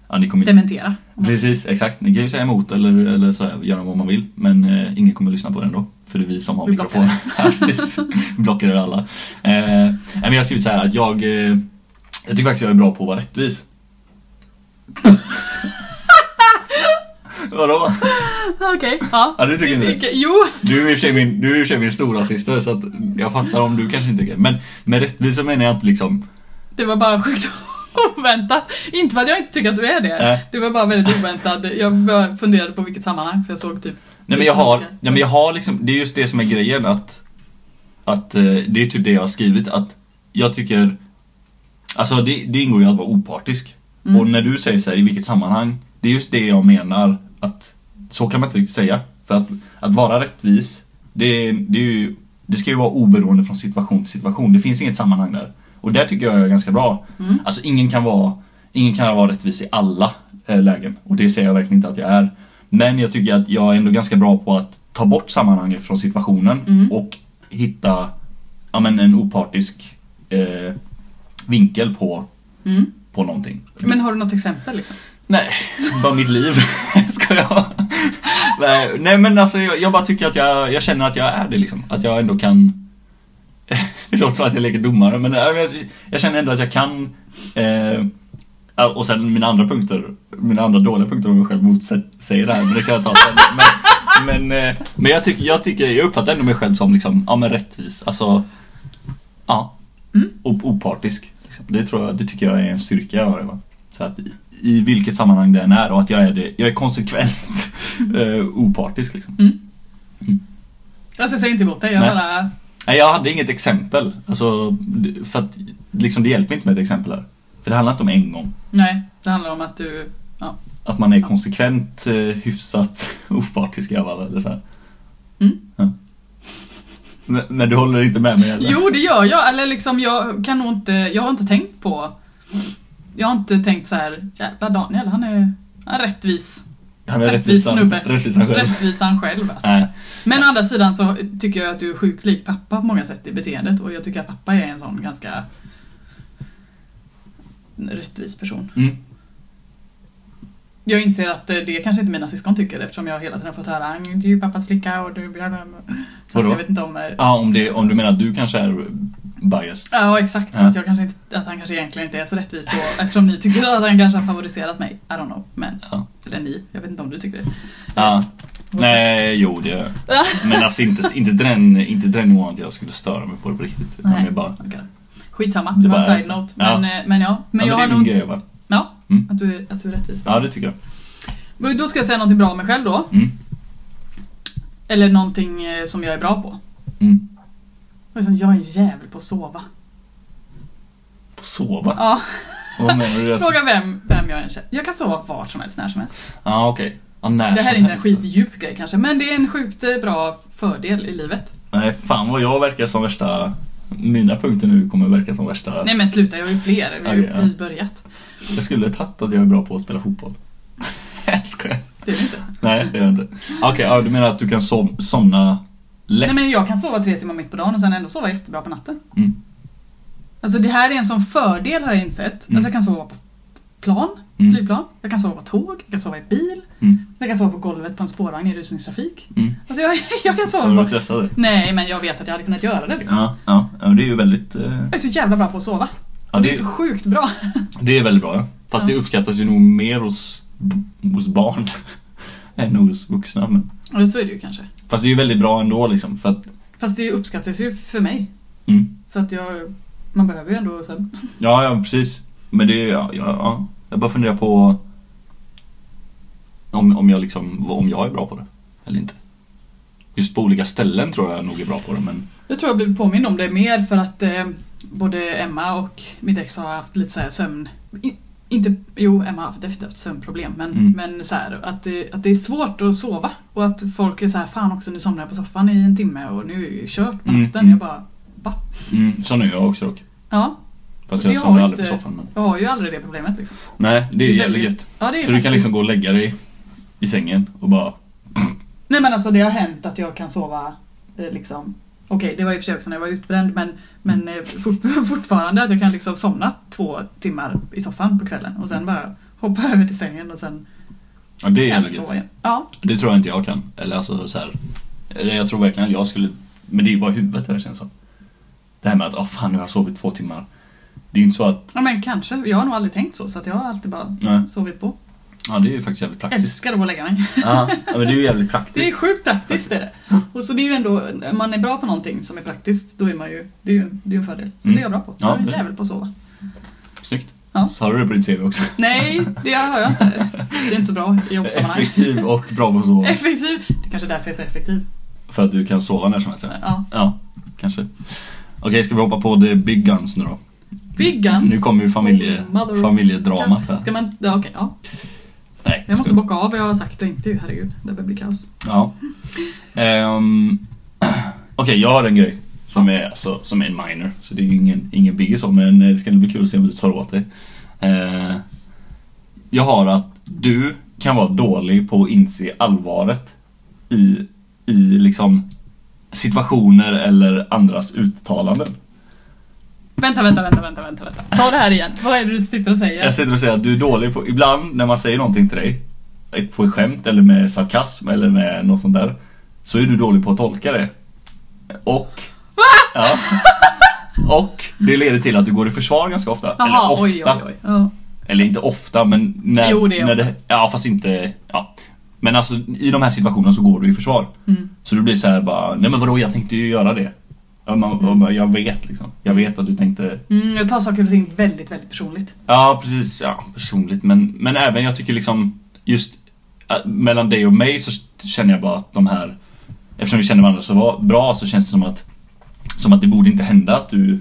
Ja, ni kommer
Dementera.
Precis, exakt. Ni kan ju säga emot eller, eller sådär, göra vad man vill. Men eh, ingen kommer lyssna på den då. För det är vi som har
Vi
mikrofonen. Ja, precis. Blockerar alla. Eh, nej, men jag har skrivit så här att jag... Eh, jag tycker faktiskt jag är bra på att vara rättvis. Vadå?
Okej, ja.
Ja, du tycker inte det?
Jo!
Du är i och för sig min, du är i och för sig min stora syster så att jag fattar om du kanske inte tycker. Men med rättvis så menar jag att liksom...
Det var bara sjukt oväntat. Inte för att jag inte tycker att du är det.
Nej.
Det var bara väldigt oväntat. Jag bara funderade på vilket sammanhang för jag såg typ...
Nej men jag har, nej, men jag har liksom, det är just det som är grejen att, att eh, det är typ det jag har skrivit att jag tycker, alltså det, det ingår ju att vara opartisk.
Mm.
Och när du säger så här, i vilket sammanhang, det är just det jag menar att så kan man inte riktigt säga. För att, att vara rättvis, det, det, är ju, det ska ju vara oberoende från situation till situation. Det finns inget sammanhang där. Och där tycker jag jag är ganska bra.
Mm.
Alltså ingen kan vara, ingen kan vara rättvis i alla eh, lägen. Och det säger jag verkligen inte att jag är. Men jag tycker att jag är ändå ganska bra på att ta bort sammanhanget från situationen
Mm.
och hitta ja, men en opartisk eh, vinkel på,
Mm.
på någonting.
Men har du något exempel liksom?
Nej, bara mitt liv. Ska jag? Nej, nej men alltså jag, jag bara tycker att jag, jag känner att jag är det liksom. Att jag ändå kan... Det låter som att jag leker domare men nej, men jag, jag känner ändå att jag kan... Eh, ja, och sen mina andra punkter, mina andra dåliga punkter om mig själv motsäger det här men det kan jag ta sen. Men, men, eh, men jag, tycker, jag tycker, jag uppfattar ändå mig själv som liksom, ja men rättvis. Alltså, ja.
Mm.
Op- opartisk. Liksom. Det, tror jag, det tycker jag är en styrka jag har. Eva. Så att i, i vilket sammanhang det än är och att jag är, det, jag är konsekvent eh, opartisk. Liksom.
Mm. Alltså jag säger inte emot dig, jag
Nej.
bara...
Nej, jag hade inget exempel. Alltså, det- för att, liksom, det hjälper inte med ett exempel här. För det handlar inte om en gång.
Nej, det handlar om att du...
Att man är konsekvent eh, hyfsat opartisk i alla fall. Eller så här.
Mm.
Ja. Men, men du håller inte med mig eller?
Jo, det gör jag. Eller liksom, jag kan nog inte... Jag har inte tänkt på... Jag har inte tänkt så här, jävla Daniel, han är, han är rättvis.
Han är
rättvis
rättvisan,
snubbe.
rättvisan själv.
Rättvisan själv alltså.
Nej.
Men å andra sidan så tycker jag att du är sjukt lik pappa på många sätt i beteendet och jag tycker att pappa är en sån ganska rättvis person.
Mm.
Jag inser att eh, det kanske inte mina syskon tycker eftersom jag hela tiden fått höra "Ah, du är ju pappas flicka och du är björnen. Så att
Vadå?
jag vet inte om... eh,
Ja, om, det, om du menar att du kanske är biased.
Ja exakt, så
Ja.
att, jag kanske inte, att han kanske egentligen inte är så rättvis då eftersom ni tycker att han kanske har favoriserat mig. I don't know. Men,
Ja.
eller ni, jag vet inte om du tycker det. Mm.
Ja. Nej, jo det gör jag. Men alltså inte, inte till den, inte till den nivån att jag skulle störa mig på det på riktigt. Utan
Nej.
jag bara,
Okej. Skitsamma,
Det
det var
bara är
en
så.
side-note.
Ja.
Men, eh, men ja, men jag
ja, det
har
är min
nog...
grej bara.
Ja,
Mm.
att du, att du är rättvis.
Ja, det tycker jag.
Men Då ska jag säga någonting bra om mig själv då.
Mm.
Eller någonting eh, som jag är bra på.
Mm.
Och sen, Jag är en jävel på att sova.
På sova?
Ja,
Vad menar du? Alltså?
fråga vem, vem jag än känner. Jag kan sova vart som helst, när som helst.
Ja, okej. Ja, när
Det här är
som
inte en
helst.
skitdjup grej kanske, men det är en sjukt eh, bra fördel i livet.
Nej, fan vad jag verkar som värsta... Mina punkter nu kommer verka som värsta...
Nej men sluta, jag har ju fler. Vi har ju
Okej, ja.
precis börjat.
Jag skulle tagit att jag är bra på att spela fotboll. Jag skojar.
Det är det inte.
Nej, det gör jag inte. Okej, ja, du menar att du kan som, somna lätt?
Nej men jag kan sova tre timmar mitt på dagen och sen ändå sova jättebra på natten.
Mm.
Alltså det här är en sån fördel har jag insett.
Mm.
Alltså jag kan sova på plan,
Mm.
flygplan. Jag kan sova på tåg, jag kan sova i bil.
Mm.
Jag kan sova på golvet på en spårvagn i rusningstrafik.
Mm.
Alltså jag, jag kan
Har
sova
du
på...
testat det?
Nej men jag vet att jag hade kunnat göra det liksom.
Ja, ja, ja, men det är ju väldigt... eh,
Jag är så jävla bra på att sova.
Ja,
det... är
det,
så sjukt bra.
det är väldigt bra. ja. Fast
Ja.
det uppskattas ju nog mer hos, hos barn än hos vuxna. Men,
Eller så är det ju kanske.
fast det är ju väldigt bra ändå liksom för att...
Fast det uppskattas ju för mig.
Mm.
För att jag... Man behöver ju ändå sen.
Ja, ja, precis. Men det är... Ja, ja, ja. Jag bara funderar på om, om jag liksom... Om jag är bra på det eller inte. Just på olika ställen tror jag nog är bra på det men...
Jag tror jag blev påmind om det mer för att eh, både Emma och mitt ex har haft lite så här sömn... i- Inte, jo, Emma har haft efter haft sömnproblem men,
Mm.
men så här, att, det, att det är svårt att sova och att folk är så här fan också nu somnar jag på soffan i en timme och nu är det ju kört på
Mm,
natten.
mm.
Jag bara va?
Mm, sån är jag också dock.
Ja,
Fast
Det
jag
har
somnar aldrig på
inte-
soffan. Men...
jag har ju aldrig det problemet liksom.
Nej, det är
Det är
jävligt
väldigt-
gött.
Ja, det är
Så du kan
faktiskt-
liksom gå och lägga dig i sängen och bara...
Nej men alltså det har hänt att jag kan sova eh, liksom Okej, det var i och för sig också när jag var utbränd men, men eh, fort, fortfarande att jag kan liksom somna två timmar i soffan på kvällen och sen bara hoppa över till sängen och sen
Ja, det är
hem och
jävligt
sova
gött.
igen. Ja,
Det tror jag inte jag kan. Eller alltså så här. Eller jag tror verkligen att jag skulle... Men det är ju bara huvudet det här känns som. Det här med att, ah fan nu har jag sovit två timmar. Det är ju inte så att,
ja men kanske. Jag har nog aldrig tänkt så så att jag har alltid bara
Nej.
sovit på.
ja det är ju faktiskt jävligt praktiskt.
Älskar att gå och lägga mig.
Ja, ja, men det är ju jävligt praktiskt.
Det är sjukt praktiskt det är det. Och så det är ju ändå, om man är bra på någonting som är praktiskt då är man ju, det är ju det är ju en fördel. Så
Mm.
det är jag bra på.
Ja,
Jag är en
det-
jävel på att sova.
Snyggt.
Ja.
Så har du det på ditt CV också.
Nej, det har jag inte. Det är inte så bra i jobbsammanhang.
Effektiv och bra på att sova.
Effektiv. Det kanske är därför jag är så effektiv.
För att du kan sova när som helst. ja.
Ja.
Ja, kanske. Okej, ska vi hoppa på the big guns nu då?
Big Guns?
Nu kommer ju familje,
Mother-
familjedramat här.
Ska man... Ja, okej. ja.
Nej,
Jag måste
ska-
bocka av vad jag har sagt och inte ju. Herregud, det börjar bli kaos.
Ja. Ehm, Okej, jag har en grej som är, alltså, som är en minor. Så det är ju ingen, ingen biggie så, men eh, det ska bli kul att se om du tar åt dig. Eh, jag har att du kan vara dålig på att inse allvaret i, i liksom situationer eller andras uttalanden.
Vänta, vänta, vänta, vänta, vänta, vänta. Ta det här igen. Vad är det du sitter och säger?
Jag sitter och säger att du är dålig på, ibland när man säger någonting till dig på ett skämt eller med sarkasm eller med något sånt där Så är du dålig på att tolka det Och ja, Och det leder till att du går i försvar ganska ofta
Jaha,
Eller ofta
oj, oj, oj. Ja.
Eller inte ofta men när,
Jo, det är
när
ofta.
Ja fast inte ja. Men alltså i de här situationerna så går du i försvar
Mm.
Så du blir så här bara Nej men vadå jag tänkte ju göra det Ja, man, man- Jag vet liksom Jag vet att du tänkte
Mm, jag tar saker och ting väldigt, väldigt personligt.
Ja precis, ja personligt men, men även jag tycker liksom just äh, mellan dig och mig så känner jag bara att de här Eftersom vi känner varandra så va- bra så känns det som att Som att det borde inte hända att du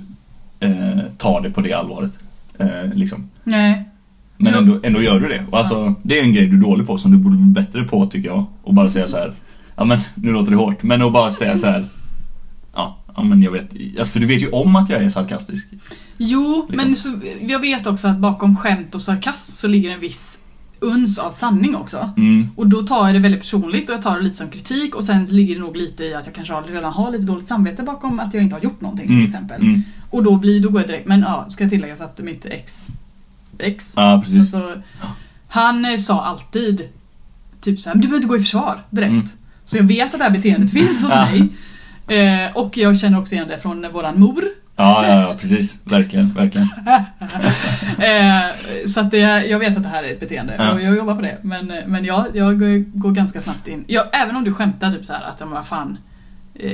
eh, tar det på det allvaret eh, liksom.
Nej.
Men
Ja.
ändå, ändå gör du det och alltså det är en grej du är dålig på som du borde bli bättre på tycker jag och bara säga så här Ja men nu låter det hårt men att bara säga så här Ja, ja men jag vet, alltså, för du vet ju om att jag är sarkastisk
Jo,
Liksom.
men så, jag vet också att bakom skämt och sarkasm så ligger en viss uns av sanning också.
mm,
Och då tar jag det väldigt personligt och jag tar det lite som kritik och sen ligger det nog lite i att jag kanske har- redan har lite dåligt samvete bakom att jag inte har gjort någonting
mm,
till exempel.
mm,
Och då, blir, då går jag direkt, men ja, ska tilläggas att mitt ex ex.
Ja,
Och
precis.
så, han eh, sa alltid typ såhär, du behöver inte gå i försvar direkt.
Mm.
Så jag vet att det här beteendet finns hos
Ja.
mig. Eh, och jag känner också igen det från eh, våran mor.
Ja, ja, ja, precis. Verkligen, verkligen.
Eh, så att det, jag vet att det här är ett beteende
Ja.
och jag jobbar på det. Men, eh, men jag, jag går- går ganska snabbt in. Jag, även om du skämtar typ såhär att, "Ja, men vad fan. Eh,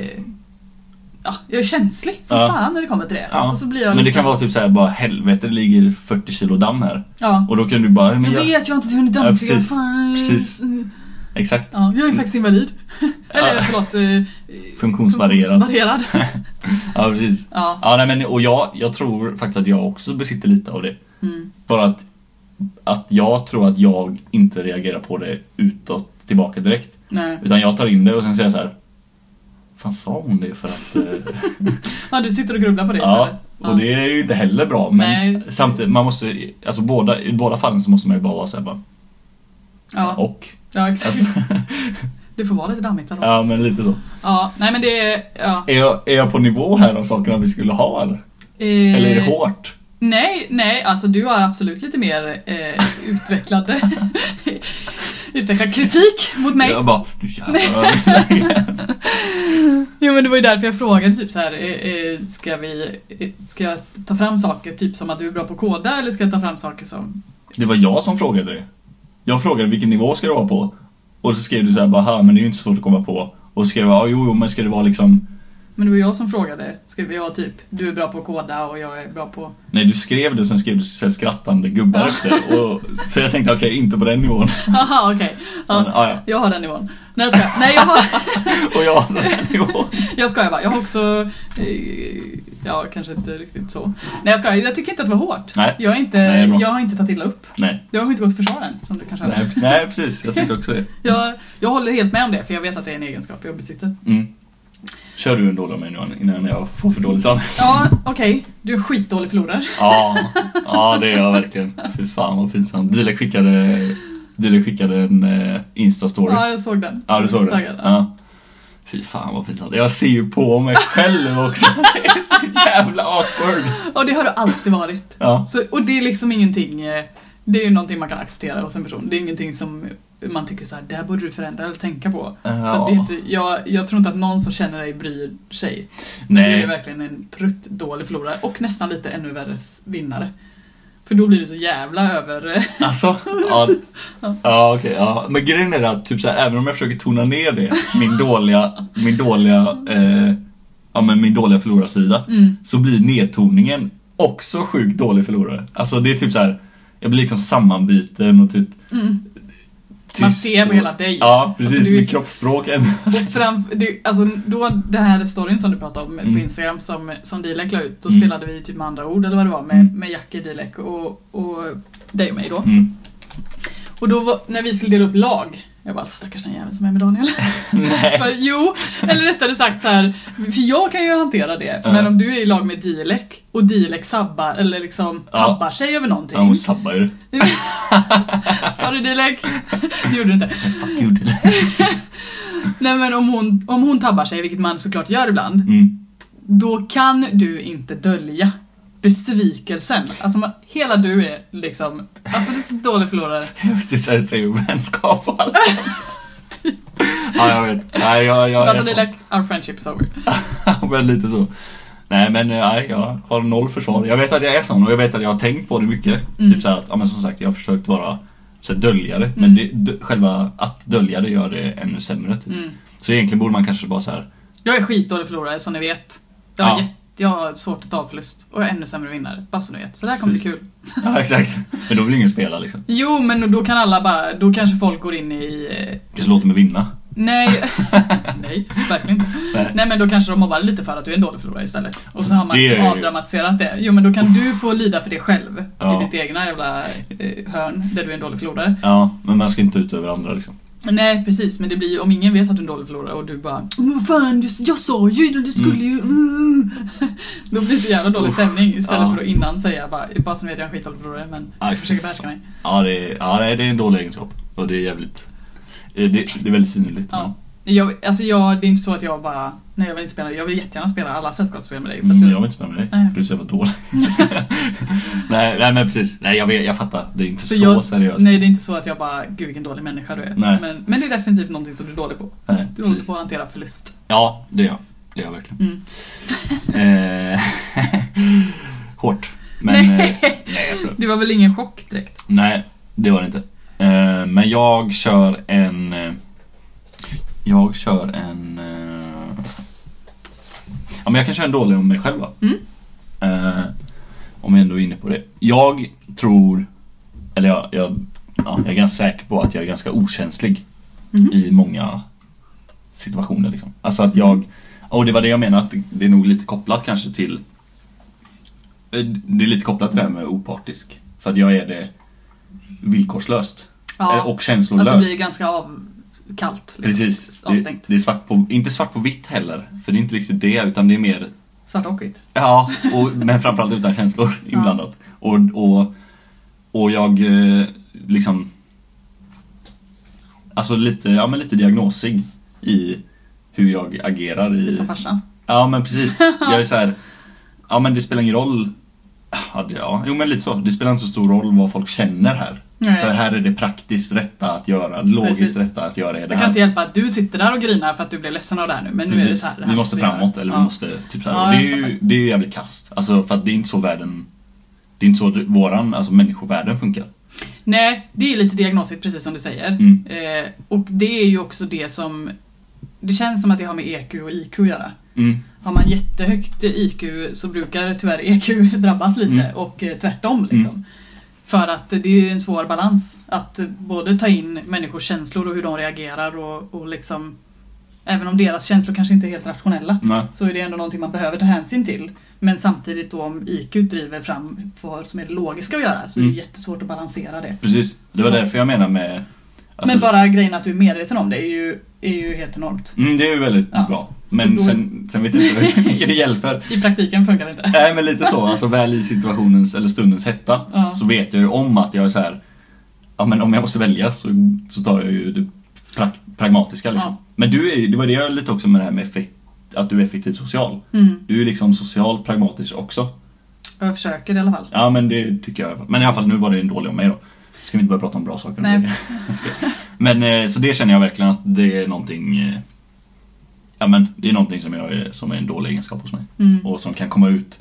ja, jag är känslig som
Ja.
fan när det kommer till det.
Ja.
Och så blir jag
Men det
liksom-
kan vara typ så här, bara helvete, det ligger 40 kilo damm här.
Ja.
Och då kan du bara, "Ja, men
Jag
jag...
vet, jag har inte hunnit
Ja,
dammsuga.
precis.
fan.
Precis. Exakt.
Ja, jag är faktiskt invalid. Eller
Ja.
förlåt, eh,
Funktionsvarierad.
funktionsvarierad.
Ja, precis.
Ja.
Ja, nej, men, och jag, jag tror faktiskt att jag också besitter lite av det.
Mm.
Bara att, att jag tror att jag inte reagerar på det utåt tillbaka direkt.
Nej.
Utan jag tar in det och sen säger jag så här. Fan sa hon det för att... eh,
Ja, du sitter och grubblar på det
ja,
istället. Ja.
och det är ju inte heller bra. Men
Nej.
samtidigt, man måste, alltså båda, i båda fallen så måste man ju bara vara såhär bara,
Ja.
och.
ja, exakt.
Alltså,
Du får vara lite dammigt ändå. Ja.
ja men lite så.
nej men det är... Ja.
Är jag, är jag på nivå här av sakerna vi skulle ha eller?
Eh,
Eller är det hårt?
Nej, nej, alltså du har absolut lite mer eh, utvecklande... utvecklad kritik mot mig.
Jag bara, du jävlar.
Jo men det var ju därför jag frågade typ så här, eh, eh, ska vi... eh, Ska jag ta fram saker typ som att du är bra på att koda eller ska jag ta fram saker som...
Det var jag som frågade det. Jag frågade vilken nivå ska det vara på? Och så skrev du så här bara, "Ha, men det är ju inte svårt att komma på. Och så skrev jag, "Ja, jo, jo men ska det vara liksom...
Men det var jag som frågade, ska vi ha typ, du är bra på att koda och jag är bra på...
Nej du skrev det, sen skrev du så här skrattande gubbar
Ja.
efter. Och, så jag tänkte okej, inte på den nivån.
Haha, okej.
Men, "Ah,
Ja,
ja, ja.
jag har den nivån. Nej jag skojar. Nej jag har...
Och jag har den nivån.
Jag skojar bara. Jag har också... eh, Ja, kanske inte riktigt så. Nej jag skojar. Jag tycker inte att det var hårt.
Nej.
Jag, är inte,
Nej, bra.
jag har inte tagit illa upp.
Nej,
Jag har inte gått försvar än, som du kanske har
nej,
hört.
nej precis, jag tycker också det.
Jag, jag håller helt med om det, för jag vet att det är en egenskap jag besitter.
Mm. Kör du en dålig av mig nu innan jag får för dålig samvete.
Ja, okej. Du är en skitdålig förlorare.
Ja, ja det är jag verkligen. Fy fan vad pinsamt. Dile skickade, Dile skickade en eh, Insta-story.
Ja, jag såg den.
Ja, du såg det?
Taggad, ja.
Ja. Fy fan vad pinsamt. Jag ser ju på mig själv också. Det är så jävla awkward.
Och det har du alltid varit.
Ja.
Så, och det är liksom ingenting, eh, det är ju någonting man kan acceptera hos en person. Det är ingenting som man tycker så här, det här borde du förändra eller tänka på. För att det är
ja.
inte, jag, jag tror inte att någon som känner dig bryr sig. Men du är
Nej.
verkligen en pruttdålig förlorare och nästan lite ännu värre s- vinnare. För då blir du så jävla över... eh,
Alltså. Ja, ja okej. ja. Men grejen är att typ så här, även om jag försöker tona ner det, min dåliga, min dåliga, eh, ja men min dåliga förlorarsida.
Mm.
Så blir nedtoningen också sjukt dålig förlorare. Alltså det är typ så här. jag blir liksom sammanbiten och typ
Mm.
tyst.
Man ser på
och-
hela dig.
Ja precis,
Alltså, du är
mitt
så-
kroppsspråk ändras.
Och fram, det, alltså, då den här storyn som du pratade om
Mm.
på Instagram som, som Dilek la ut, då
Mm.
spelade vi typ med andra ord eller vad det var med, med Jackie, Dilek och, och dig och mig då.
Mm.
Och då var, när vi skulle dela upp lag, jag bara stackars den jäveln som är med Daniel.
Nej.
för, jo, eller rättare sagt så här, för jag kan ju hantera det.
Ja.
Men om du är i lag med Dilek och Dilek sabbar eller liksom
Ja.
tabbar sig över någonting.
Ja, hon sabbar ju det.
Sorry Dilek, det gjorde du inte.
Fuck you Dylan.
Nej men om hon, om hon tabbar sig, vilket man såklart gör ibland,
Mm.
då kan du inte dölja besvikelsen. Alltså man, hela du är liksom, alltså du är så dålig förlorare.
Jag vet inte så här säger vänskap och allt sånt. Ja, jag vet. Nej, jag, jag
alltså
är
Dilek, our friendship is over.
sån. Men lite så. Nej, men eh, nej, jag har noll försvar. Jag vet att jag är sån och jag vet att jag har tänkt på det mycket.
Mm.
Typ så här att, ja men som sagt, jag har försökt vara så här, dölja det.
Mm.
Men det, d- själva att dölja det gör det ännu sämre. Typ.
Mm.
Så egentligen borde man kanske bara så här.
Jag är skitdålig förlorare som ni vet. Jag har,
Ja.
jätte, jag har svårt att ta förlust och jag är ännu sämre vinnare, bara så ni vet. Så det här kommer bli kul.
Ja, exakt. Men då vill ingen spela liksom.
Jo, men då kan alla bara, då kanske folk går in i... eh,
Kanske låter mig vinna.
Nej, nej, verkligen inte.
Nej.
Nej men då kanske de mobbar lite för att du är en dålig förlorare istället. Och så har man
Det är ju-
avdramatiserat det. Jo men då kan du få lida för det själv.
Ja.
I ditt egna jävla eh, hörn där du är en dålig förlorare.
Ja, men man ska inte ut över andra liksom.
Nej precis, men det blir ju om ingen vet att du är en dålig förlorare och du bara "Men vad fan, du, jag sa ju, du skulle ju... Uh. Då blir det så jävla dålig
Mm. Usch.
stämning istället
Ja.
för att innan säga bara, bara som vet jag är en skitdålig förlorare men
Aj,
jag
fy
försöker
fan.
behärska mig.
Ja, det är, ja, nej, det är en dålig egenskap. Och det är jävligt... eh, Det, det är väldigt synligt.
Ja.
Ja.
Jag, alltså jag, det är inte så att jag bara, nej jag vill inte spela, jag vill jättegärna spela alla sällskapsspel med dig. För att
Mm,
jag-
jag vill inte spela med dig,
Nej, okej.
för du ser vad dålig nej, nej men precis, nej jag, vet, jag fattar. Det är inte
för
så
jag,
seriöst.
Nej, det är inte så att jag bara, gud vilken dålig människa du är.
Nej.
Men, men det är definitivt någonting som du är dålig på.
Nej,
Du är dålig
precis.
på att hantera förlust.
Ja, det gör jag. Det gör jag verkligen.
Mm.
Eh, Hårt. Men eh,
Nej.
nej, nej jag skojar.
Det var väl ingen chock direkt?
Nej, det var det inte. Eh, men jag kör en... eh, Jag kör en... eh, Ja, men jag kan köra en dålig om mig själv va?
Mm.
Eh, om jag ändå är inne på det. Jag tror... Eller jag, jag, ja, jag är ganska säker på att jag är ganska okänslig
Mhm.
i många situationer. Liksom. Alltså att jag... Och det var det jag menade, att det är nog lite kopplat kanske till... eh, Det är lite kopplat till det här med opartisk. För att jag är det villkorslöst. Eh, Och
att
känslolöst.
det blir ganska av, kallt. liksom.
Precis. Det,
Avstängt.
det är svart på, inte svart på vitt heller. För det är inte riktigt det, utan det är mer
Svart och vitt.
Ja, och, men framförallt utan känslor inblandat. Och, och, och jag eh, liksom... Alltså lite, ja, men lite diagnosig i hur jag agerar i...
Lite som farsan.
Ja men precis. Jag är så här, ja men det spelar ingen roll. Ja, det- ja, jo men lite så. Det spelar inte så stor roll vad folk känner här.
Nej.
För här är det praktiskt rätta att göra, logiskt
Precis.
rätta att göra är det
Jag kan inte
här.
hjälpa att du sitter där och grinar för att du blev ledsen av det här nu. Men nu är det
Precis,
så här. det här
vi måste
göra.
framåt eller vi
Ja.
måste typ så här.
Ja,
Och det, är
jag
ju,
fattar.
det är ju jävligt kast. Alltså för att det är inte så världen, det är inte så våran, alltså människovärlden funkar.
Nej, det är ju lite diagnosigt precis som du säger.
Mm.
Eh, och det är ju också det som... Det känns som att det har med EQ och IQ att göra.
Mm.
Har man jättehögt IQ så brukar tyvärr EQ drabbas lite
Mm.
och eh, tvärtom. Liksom. För att det är ju en svår balans att både ta in människors känslor och hur de reagerar och, och liksom Även om deras känslor kanske inte är helt rationella
Nej.
så är det ändå någonting man behöver ta hänsyn till. Men samtidigt då om IQ driver fram vad som är det logiska att göra så är det
Mm.
jättesvårt att balansera det.
Precis, det var därför jag menar med... alltså-
Men bara grejen att du är medveten om det är ju, är ju helt enormt.
Mm, det är ju väldigt
Ja.
bra. Men
Då-
sen, sen vet jag inte hur mycket det hjälper.
I praktiken funkar det inte.
Nej men lite så, alltså väl i situationens eller stundens hetta
Ja.
så vet jag ju om att jag är så här. Ja men om jag måste välja så, så tar jag ju det pra- pragmatiska liksom.
Ja.
Men du är ju- det var det jag lite också med det här med effekt, att du är effektivt social.
Mm.
Du är ju liksom socialt pragmatisk också.
Jag försöker i alla fall.
Ja men det tycker jag. Men i alla fall nu var det en dålig om mig då. Ska vi inte börja prata om bra saker?
Nej.
Men eh, så det känner jag verkligen att det är någonting eh, Ja men det är någonting som, jag, är- som är en dålig egenskap hos mig.
Mm.
Och som kan komma ut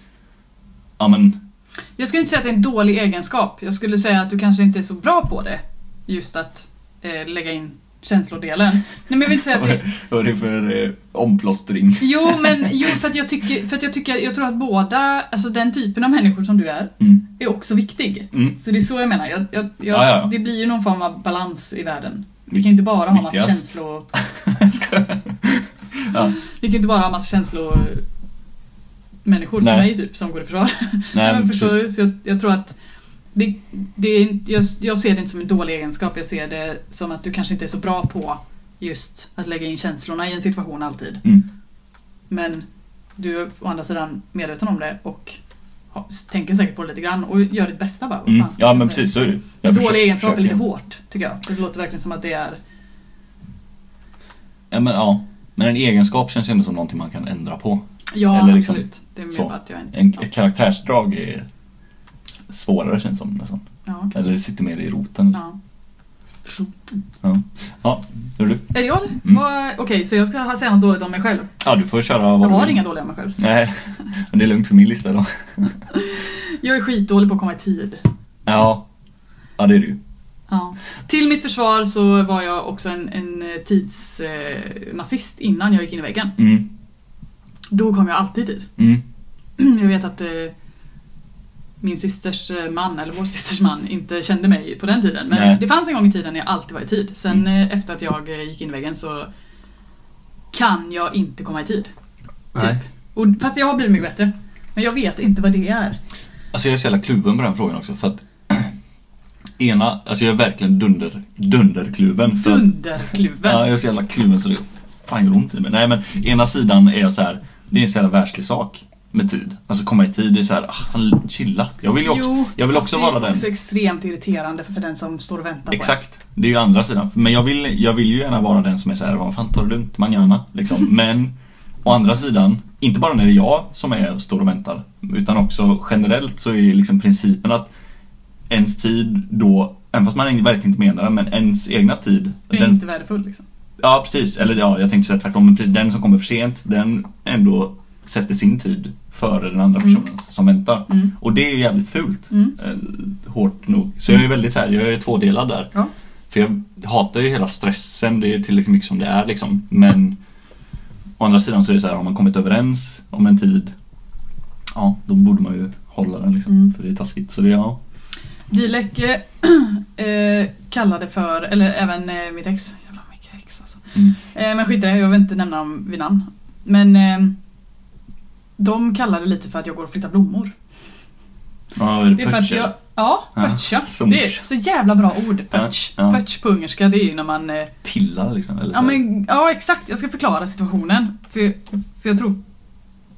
Ja men
Jag skulle inte säga att det är en dålig egenskap. Jag skulle säga att du kanske inte är så bra på det. Just att eh, lägga in känslodelen. Nej men jag vill inte säga att det...
Vad är det för eh, omplåstring?
Jo men jo, för att jag tycker, för att jag, tycker jag tror att båda, alltså den typen av människor som du är,
Mm.
är också viktig.
Mm.
Så det är så jag menar. Jag, jag, jag,
Ja, ja, ja.
Det blir ju någon form av balans i världen. Vi kan ju inte bara ha massa
Viktigast.
känslor...
Ska jag- ja.
Vi kan ju inte bara ha massa känslor... Människor som
Nej.
mig typ, som går i försvar.
Nej,
men
men
förstår
precis.
du? Så jag, jag tror att det, det är, inte- jag, jag ser det inte som en dålig egenskap. Jag ser det som att du kanske inte är så bra på just att lägga in känslorna i en situation alltid.
Mm.
Men du är å andra sidan medveten om det och ha, tänker säkert på det lite grann och gör ditt bästa bara. Vad
Mm.
fan,
Ja men
det-
precis, så är det Jag
Dålig
försöker-
egenskap är lite
försöker.
hårt tycker jag. Det låter verkligen som att det är...
Ja men ja. Men en egenskap känns ju ändå som någonting man kan ändra på.
Ja,
Eller liksom
absolut. Det är mer
så.
bara att jag är en...
En,
ja.
ett karaktärsdrag är s- svårare känns det som nästan.
Ja, okej.
Eller det sitter mer i roten. Ja,
ja. Shoot.
nu är du.
Är det jag eller?
Mm.
Vad- Okej, så jag ska ha- säga något dåligt om mig själv.
Ja du får köra
Jag
du
har
vill.
inga dåliga om mig själv.
Nej, men det är lugnt för min lista då.
Jag är skitdålig på att komma i tid.
Ja. Ja det är du.
Ja. Till mitt försvar så var jag också en, en tidsnazist eh, nazist innan jag gick in i väggen.
Mm.
Då kom jag alltid i tid.
Mm.
Jag vet att eh, min systers eh, man, eller vår systers man, inte kände mig på den tiden. Men
Nej. Mm.
det fanns en gång i tiden när jag alltid var i tid. Sen eh, efter att jag eh, gick in i väggen så kan jag inte komma i tid. typ.
Nej.
Och, fast jag har blivit mycket bättre. Men jag vet inte vad det är.
Alltså jag är så jävla kluven på den frågan också för att Ena, alltså jag är verkligen dunder, dunderkluven. För att-
Dunderkluven.
Ja, jag är så jävla kluven så det fan gör ont i mig. Nej men ena sidan är jag så här, det är en så jävla världslig sak. med tid. Alltså komma i tid, det är såhär, ah, fan chilla. Jag vill ju också, jag vill
fast
också
det är
vara den.
också extremt irriterande för den som står och väntar på
Exakt, det är ju andra sidan. Men jag vill, jag vill ju gärna vara den som är såhär, vad fan ta det lugnt, manana. Liksom. Men å andra sidan, inte bara när det är jag som är och står och väntar. Utan också generellt så är ju liksom principen att ens tid då, även fast man verkligen inte menar det, men ens egna tid.
en. Den är inte värdefull liksom.
Ja precis, eller ja, jag tänkte säga tvärtom. Men precis, Den som kommer för sent, den ändå sätter sin tid före den andra personen som väntar.
Mm.
Och det är ju jävligt fult.
Mm.
Eh, Hårt nog. Så jag är väldigt så här, jag är tvådelad där.
Ja.
För jag hatar ju hela stressen, det är tillräckligt mycket som det är liksom. Men å andra sidan så är det så här, har man kommit överens om en tid, ja då borde man ju hålla den liksom.
Mm.
För det är taskigt. Så det, ja.
Dilek eh, kallade för, eller även eh, mitt ex, jävla mycket ex alltså.
Mm.
Eh, men skit i det, jag vill inte nämna dem vid namn. Men eh, de kallar det lite för att jag går och flyttar blommor.
Ja, är det,
Det är för att
putcher?
jag, ja,
Ja,
pötcha.
som-
Det är så jävla bra ord, pötch.
Ja, ja.
Pötch på ungerska, det är ju när man eh,
Pillar liksom? Eller så
Ja,
här.
men, ja exakt, jag ska förklara situationen. För, för jag tror,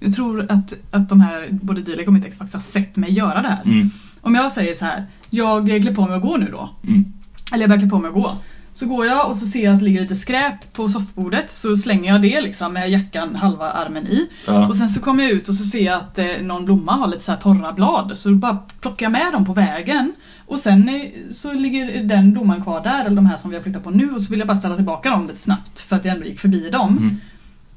jag tror att, att de här, både Dilek och mitt ex faktiskt har sett mig göra det här.
Mm,
Om jag säger så här, jag eh, klär på mig och går nu då.
mm,
Eller jag börjar klä på mig och gå. Så går jag och så ser jag att det ligger lite skräp på soffbordet så slänger jag det liksom med jackan halva armen i.
ja.
Och sen så kommer jag ut och så ser jag att eh, någon blomma har lite så här torra blad så då bara plockar jag med dem på vägen. Och sen eh, så ligger den blomman kvar där, eller de här som vi har flyttat på nu och så vill jag bara ställa tillbaka dem lite snabbt för att jag ändå gick förbi dem.
Mm.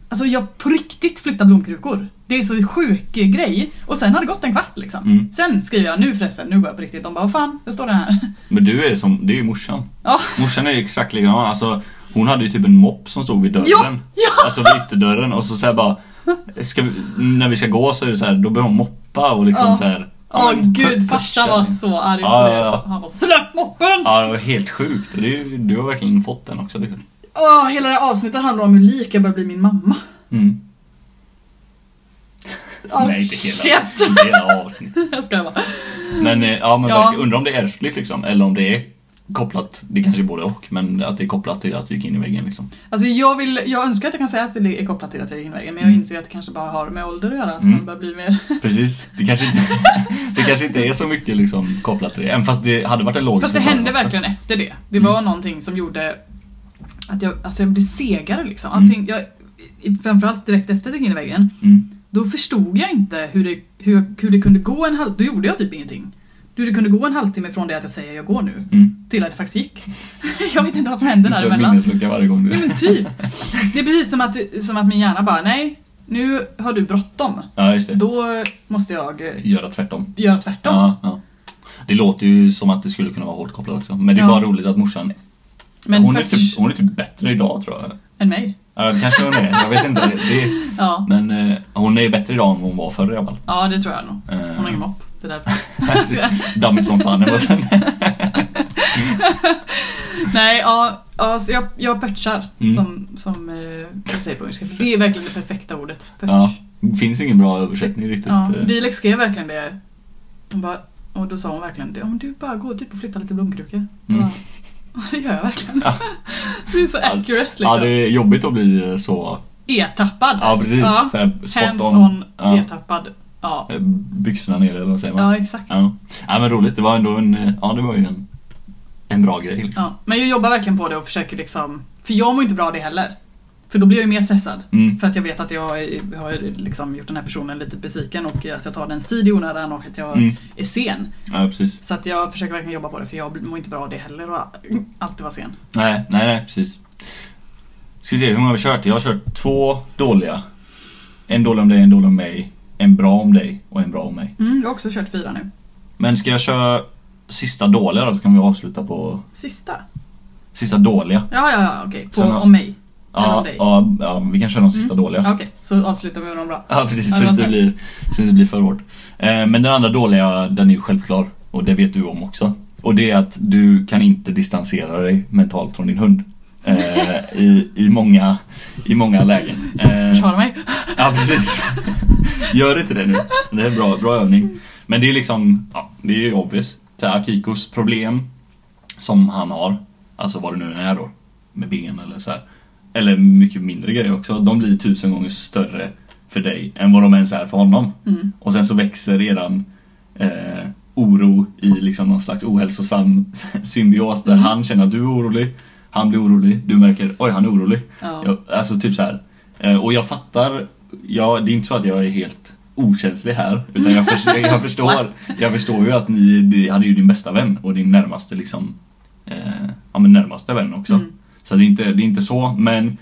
Alltså jag på riktigt flyttar blomkrukor. Det är så sjuk eh, grej. Och sen har det gått en kvart liksom.
Mm.
Sen skriver jag nu förresten, nu går jag på riktigt. De bara vad fan, jag står det här.
Men du är som, det är ju morsan.
Ja.
Morsan är ju exakt likadan. Alltså, hon hade ju typ en mopp som stod vid dörren.
Ja, ja.
Alltså vid ytterdörren och så säger bara ska vi, när vi ska gå så är det så här, då börjar hon moppa och liksom
Ja.
så här.
Åh
men, liksom.
gud,
put-
farsan
putcha.
var så arg
Ja,
på det.
ja, ja.
så Han var släpp moppen!
Ja, det var helt sjukt. Och det är, ju- du har verkligen fått den också. Liksom.
Åh, hela det här avsnittet handlar om hur lik jag börjar bli min mamma.
Mm.
Oh,
Nej, inte hela,
Shit!
inte hela avsnittet.
jag skojar bara.
Men eh, ja, men
Ja.
verkligen, undrar om det är ärftligt liksom. Eller om det är kopplat, det kanske är både och, men att det är kopplat till att du gick in i väggen liksom.
Alltså jag, vill, jag önskar att jag kan säga att det är kopplat till att jag gick in i vägen men jag
Mm.
inser att det kanske bara har med ålder att göra. Att
Mm.
man börjar bli mer...
Precis, det kanske inte, det kanske inte är så mycket liksom kopplat till det. Även fast det hade varit en logisk
Fast det
förklaring
hände
också.
verkligen efter det. Det
Mm.
var någonting som gjorde att jag, alltså jag blev segare liksom. Allting, jag, i- framförallt direkt efter att jag gick in i väggen.
Mm.
Då förstod jag inte hur det, hur, hur det kunde gå en halv... Då gjorde jag typ ingenting. Hur det kunde gå en halvtimme från det att jag säger jag går nu
Mm.
till att det faktiskt gick. jag vet inte vad som hände
Den så
däremellan.
minneslucka varje gång
Ja
du...
men typ. Det är precis som att, som att min hjärna bara, nej, nu har du bråttom.
Ja, just det.
Då måste jag eh,
Göra tvärtom.
göra tvärtom.
Ja, ja. Det låter ju som att det skulle kunna vara hårt kopplat också. Men det är
Ja.
bara roligt att morsan...
Men
hon, är
faktiskt,
typ, hon är typ bättre idag tror jag.
än mig.
Ja, kanske hon är. Jag vet inte. Det,
Ja.
men eh, hon är ju bättre idag än vad hon var förr i alla fall.
ja, det tror jag nog.
Eh,
Hon har ingen mopp. Det är därför.
Dammigt som fan. det var sen.
Nej, ja, ja så jag, jag pötchar.
Mm.
Som, som eh, jag säger på engelska. För det är verkligen det perfekta ordet. Pötch.
Ja, finns ingen bra översättning riktigt.
Ja, liksom-
eh.
Dilek skrev verkligen det. Hon bara, och då sa hon verkligen det. Ja, men du bara går typ och flyttar lite blomkrukor. Jag
Mm.
bara, "Ja, Det gör jag verkligen.
Ja.
Det är så accurate liksom.
Ja, det är jobbigt att bli eh, så...
Ertappad.
Ja, precis.
Ja.
Så här, spot
Hands
on.
on,
Ja.
ertappad. Ja.
Eh, Byxorna ner eller vad säger man?
ja, exakt. Ja.
Ja. ja men roligt, det var ändå en, eh, ja det var ju en, en bra grej liksom.
Men jag jobbar verkligen på det och försöker liksom... För jag mår inte bra av det heller. För då blir jag ju mer stressad.
Mm.
För att jag vet att jag är- har liksom gjort den här personen lite besviken och att jag tar den tid i onödan och att jag
Mm.
är sen.
Ja precis.
Så att jag försöker verkligen jobba på det för jag mår inte bra av det heller och alltid vara sen.
Nej, nej, nej precis. Ska vi se, hur många har vi kört? Jag har kört två dåliga. En dålig om dig, en dålig om mig. En bra om dig och en bra om mig.
Mm, jag har också kört fyra nu.
Men ska jag köra sista dåliga då? Så kan vi avsluta på
Sista?
sista dåliga.
Ja, ja, ja okej. På
Sen har-
om mig. Eller om
Ja,
dig. Mm.
ja, ja, vi kan köra de sista dåliga.
Ja, Okej, så avslutar vi med de bra.
Ja precis, så
Ja,
det
det
inte
var
blir, så det inte blir för hårt. Eh, Men den andra dåliga, den är ju självklar. Och det vet du om också. Och det är att du kan inte distansera dig mentalt från din hund. Eh, I, i, många, I många lägen. Eh,
Försvara mig.
ja precis. Gör inte det nu. Det är en bra, bra övning. Men det är liksom, ja, det är ju obvious. Så här, Akikos problem som han har, alltså vad det nu än är då, med ben eller så här. Eller mycket mindre grejer också, de blir tusen gånger större för dig än vad de ens är för honom.
Mm.
Och sen så växer redan eh, oro i liksom någon slags ohälsosam symbios där
Mm.
han känner att du är orolig, han blir orolig, du märker oj han är orolig.
Ja.
Jag, alltså typ så här. Eh, och jag fattar, jag, det är inte så att jag är helt okänslig här. Utan jag, förstår, jag, förstår, jag förstår ju att ni, det- han är ju din bästa vän och din närmaste liksom, eh, ja men närmaste vän också.
Mm.
Så det är, inte, det är inte så, men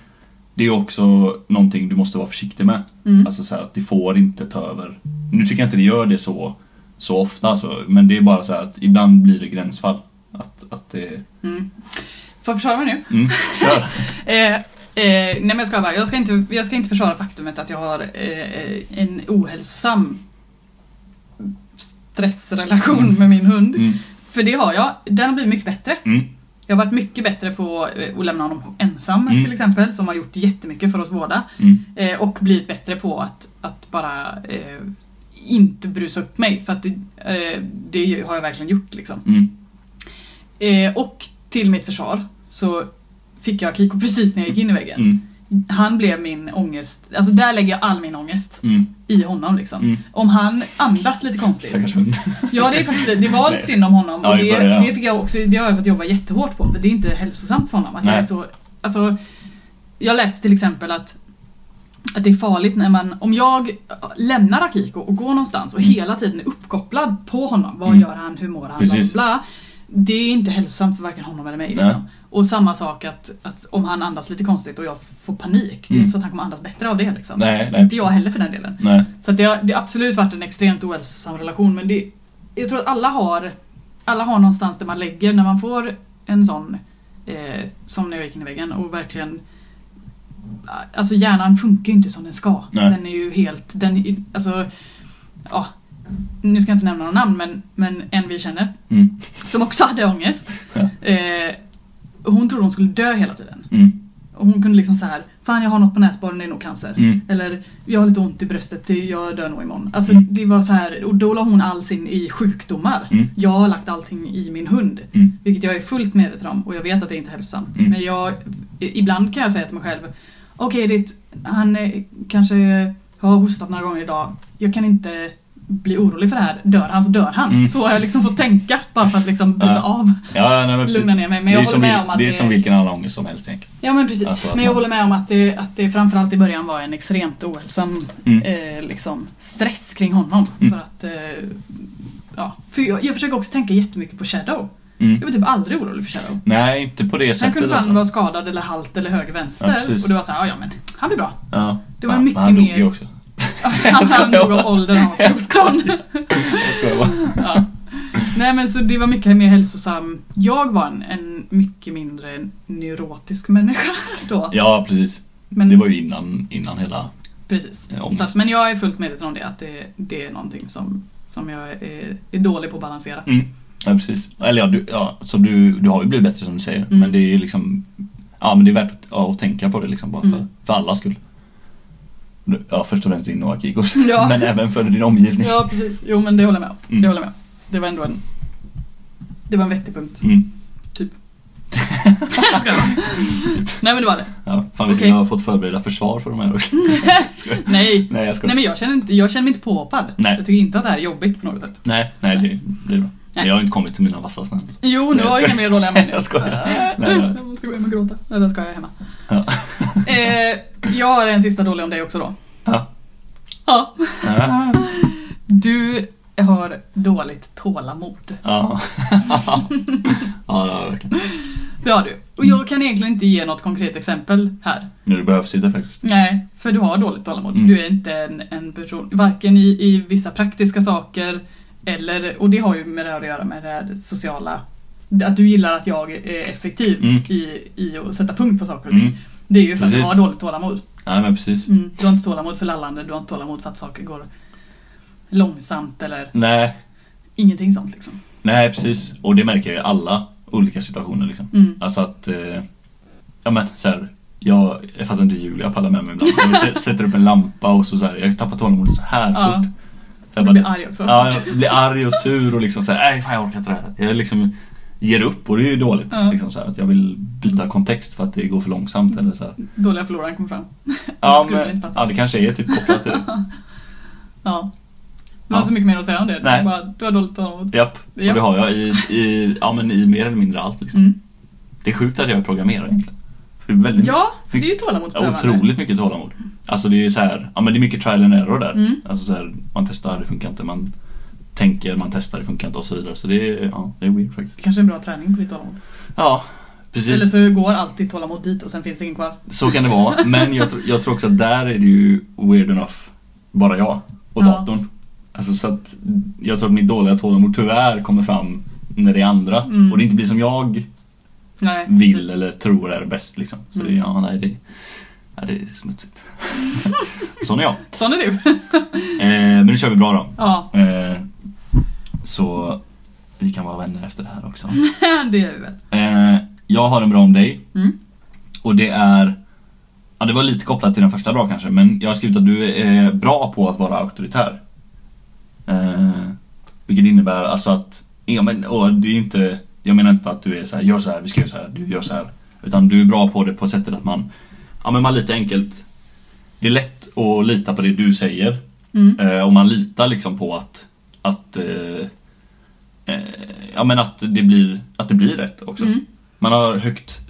det är ju också någonting du måste vara försiktig med.
Mm.
Alltså så här, att det får inte ta över. Nu tycker jag inte det gör det så, så ofta, alltså, men det är bara så här att ibland blir det gränsfall. Att, att det...
Mm. Får jag försvara mig nu?
Mm, kör!
Eh, eh, nej men jag ska bara, jag ska, inte, jag ska inte försvara faktumet att jag har eh, en ohälsosam stressrelation med min hund.
Mm,
För det har jag. Den har blivit mycket bättre.
mm,
Jag har varit mycket bättre på eh, att lämna honom ensam
Mm.
till exempel, som har gjort jättemycket för oss båda.
mm,
Eh, och blivit bättre på att, att bara eh, inte brusa upp mig, för att det, eh, det har jag verkligen gjort liksom.
mm,
Eh, och till mitt försvar så fick jag Kiko precis när jag gick in i väggen.
mm,
Han blev min ångest, alltså där lägger jag all min ångest
mm.
i honom liksom.
Mm.
Om han andas lite konstigt
Stackars hund.
Ja det är faktiskt det. Det var lite
Nej.
synd om honom
Ja,
och
det
det,
var det, ja.
det, fick jag också, det har jag fått jobba jättehårt på för det är inte hälsosamt för honom. Att jag,
Nej.
är så, alltså, jag läste till exempel att, att det är farligt när man, om jag lämnar Akiko och går någonstans och hela tiden är uppkopplad på honom. Vad
Mm.
gör han? Hur mår han? Bla, bla,
Precis.
bla. Det är inte hälsosamt för varken honom eller mig.
Nej.
Liksom. Och samma sak att, att om han andas lite konstigt och jag får panik. Det är ju
Mm.
inte så att han kommer andas bättre av det. Liksom.
Nej, nej.
Inte jag heller för den delen.
Nej.
Så att det, har, det har absolut varit en extremt ohälsosam relation men det, jag tror att alla har, alla har någonstans där man lägger när man får en sån eh, som när jag gick in i väggen och verkligen Alltså hjärnan funkar ju inte som den ska.
Nej.
Den är ju helt, den, är- alltså ja, nu ska jag inte nämna några namn men, men en vi känner
Mm.
som också hade ångest.
Ja.
Eh, hon trodde hon skulle dö hela tiden.
Mm.
Och hon kunde liksom så här, fan jag har något på näsborren, det är nog cancer.
Mm.
Eller jag har lite ont i bröstet, det- jag dör nog imorgon. Alltså
Mm.
det var så här, och då la hon all sin i sjukdomar.
Mm.
Jag har lagt allting i min hund.
Mm.
Vilket jag är fullt medveten om och jag vet att det inte är hälsosamt.
Mm.
Men jag, i- ibland kan jag säga till mig själv, okej det är ett- han eh, kanske har hostat några gånger idag. Jag kan inte bli orolig för det här. Dör han så dör han.
Mm.
Så har jag liksom fått tänka bara för att liksom bryta
Ja.
av.
Ja, nej, men precis.
Lugna ner mig. Men
det är,
jag
som,
håller med
vil-
om att
det är som vilken annan ångest som helst egentligen.
Ja men precis.
Alltså att
men jag
man-
håller med om att det, att det framförallt i början var en extremt ohälsam
Mm.
eh, liksom, stress kring honom.
Mm.
För att... Eh, ja. För jag, jag försöker också tänka jättemycket på Shadow.
Mm.
Jag var typ aldrig orolig för Shadow.
Nej, inte på det
Han
sättet.
kunde
alltså.
fan vara skadad eller halt eller höger
Ja,
vänster.
precis.
och det var såhär, ja men han blir bra.
ja.
det var
Ja,
mycket
men han
mer-
dog ju också.
Han, han dog av ålder när han var 14.
Jag skojar bara.
ja. Nej men så det var mycket mer hälsosam. Jag var en, en mycket mindre neurotisk människa då.
Ja, precis.
Men-
Det var ju innan, innan hela...
Precis.
Ja, Eh, om-
Så att, men jag är fullt medveten om det, att det, det är någonting som, som jag är, är dålig på att balansera.
Mm. Ja, precis. Eller ja, du, ja så du, du har ju blivit bättre som du säger.
Mm.
Men det är liksom... Ja, men det är värt att, ja, att tänka på det liksom bara för,
Mm.
för allas skull. Ja, först och främst din och Akikos.
Ja.
Men även för din omgivning.
Ja, precis. Jo, men det håller jag med om.
Mm.
Det håller jag med om. Det var ändå en... Det var en vettig punkt.
Mm.
Jag skojar. Nej, men det var det.
Ja, fan, vi
Okej.
skulle ha fått förbereda försvar för de här också.
Nej.
Nej, jag skojar.
Nej, men jag känner, inte, jag känner mig inte påhoppad.
Nej.
Jag tycker inte att det här är jobbigt på något sätt.
Nej, nej,
Nej.
Det, det är bra.
Nej.
Jag har inte kommit till mina vassa snön.
Jo, nu
Nej, jag
har jag inga mer
skojar.
dåliga minnen.
Jag skojar.
Äh,
Nej, nej.
Jag måste gå hem och gråta. Eller ska jag hemma.
Ja.
Eh, jag har en sista dålig om dig också då.
Ja.
Ja.
Ja.
Du har dåligt tålamod.
Ja. ja, det har jag verkligen.
Det har du. Och jag kan egentligen inte ge något konkret exempel här.
Nu det behövs inte faktiskt.
Nej, för du har dåligt tålamod.
Mm.
Du är inte en, en person, varken i, i vissa praktiska saker eller, och det har ju med det här att göra med det här sociala, att du gillar att jag är effektiv
Mm.
i, i att sätta punkt på saker och ting.
Mm.
Det är ju för att du
Precis.
har dåligt tålamod.
Nej, men precis.
Mm. Du har inte tålamod för lallande, du har inte tålamod för att saker går långsamt eller
Nej,
ingenting sånt liksom.
nej precis. Och det märker jag i alla olika situationer liksom.
Mm.
Alltså att, eh, ja men så här, jag, jag fattar inte hur Julia pallar med mig ibland. Jag s- sätter upp en lampa och så, så här, jag tappar tålamodet så här
Ja.
fort. Jag
Du
bara-
blir arg också.
"Äh, Ja, jag blir arg och sur och liksom såhär, nej fan jag orkar inte det här. Jag är liksom ger upp och det är ju dåligt.
Ja.
Liksom så här, att jag vill byta kontext för att det går för långsamt eller så här.
Dåliga förloraren kom fram.
Ja,
Mm. skulle väl
men,
inte passa.
ja, det kanske är typ kopplat till det.
Ja. Det var inte så mycket mer att säga om det.
Nej.
Bara, det var dåligt av
Japp, och
Japp.
det har jag i, i, ja, men i mer eller mindre allt. Liksom.
mm.
Det är sjukt att jag är programmerare egentligen. För det är väldigt
Ja, det är ju tålamodsprövande.
Typ. Otroligt mycket tålamod. Alltså det är så här, ja men det är mycket trial and error där.
Mm.
Alltså så här, man testar, det funkar inte. Man tänker, man testar, det funkar inte och så vidare. Så det är, ja, det är weird faktiskt.
Kanske en bra träning på ditt tålamod.
Ja,
Eller
precis.
så
Så...
går alltid tålamod dit och sen finns det ingen kvar.
kan det vara. Men jag, tr- jag tror också att där är det ju weird enough bara jag och
Ja.
datorn. Alltså så att jag tror att mitt dåliga tålamod tyvärr kommer fram när det är andra
Mm.
och det inte blir som jag
Nej,
vill
precis.
eller tror är bäst liksom. Så det,
Mm.
ja, nej, det, ja, det är smutsigt. Sån är jag.
Sån är du.
Eh, men nu kör vi bra då.
ja,
Eh, så vi kan vara vänner efter det här också.
det är huvudet.
Eh, jag har en bra om dig
Mm.
och det är Ja det var lite kopplat till den första bra kanske men jag har skrivit att du är bra på att vara auktoritär. Eh, vilket innebär alltså att, ja, men, och det är inte, jag menar inte att du är så här, gör så här, vi ska göra så här, du gör så här. Utan du är bra på det på sättet att man, ja men man lite enkelt, det är lätt att lita på det du säger
Mm.
Eh, och man litar liksom på att, att, eh, eh, ja, men att, det, blir, att det blir rätt också.
Mm.
Man har högt,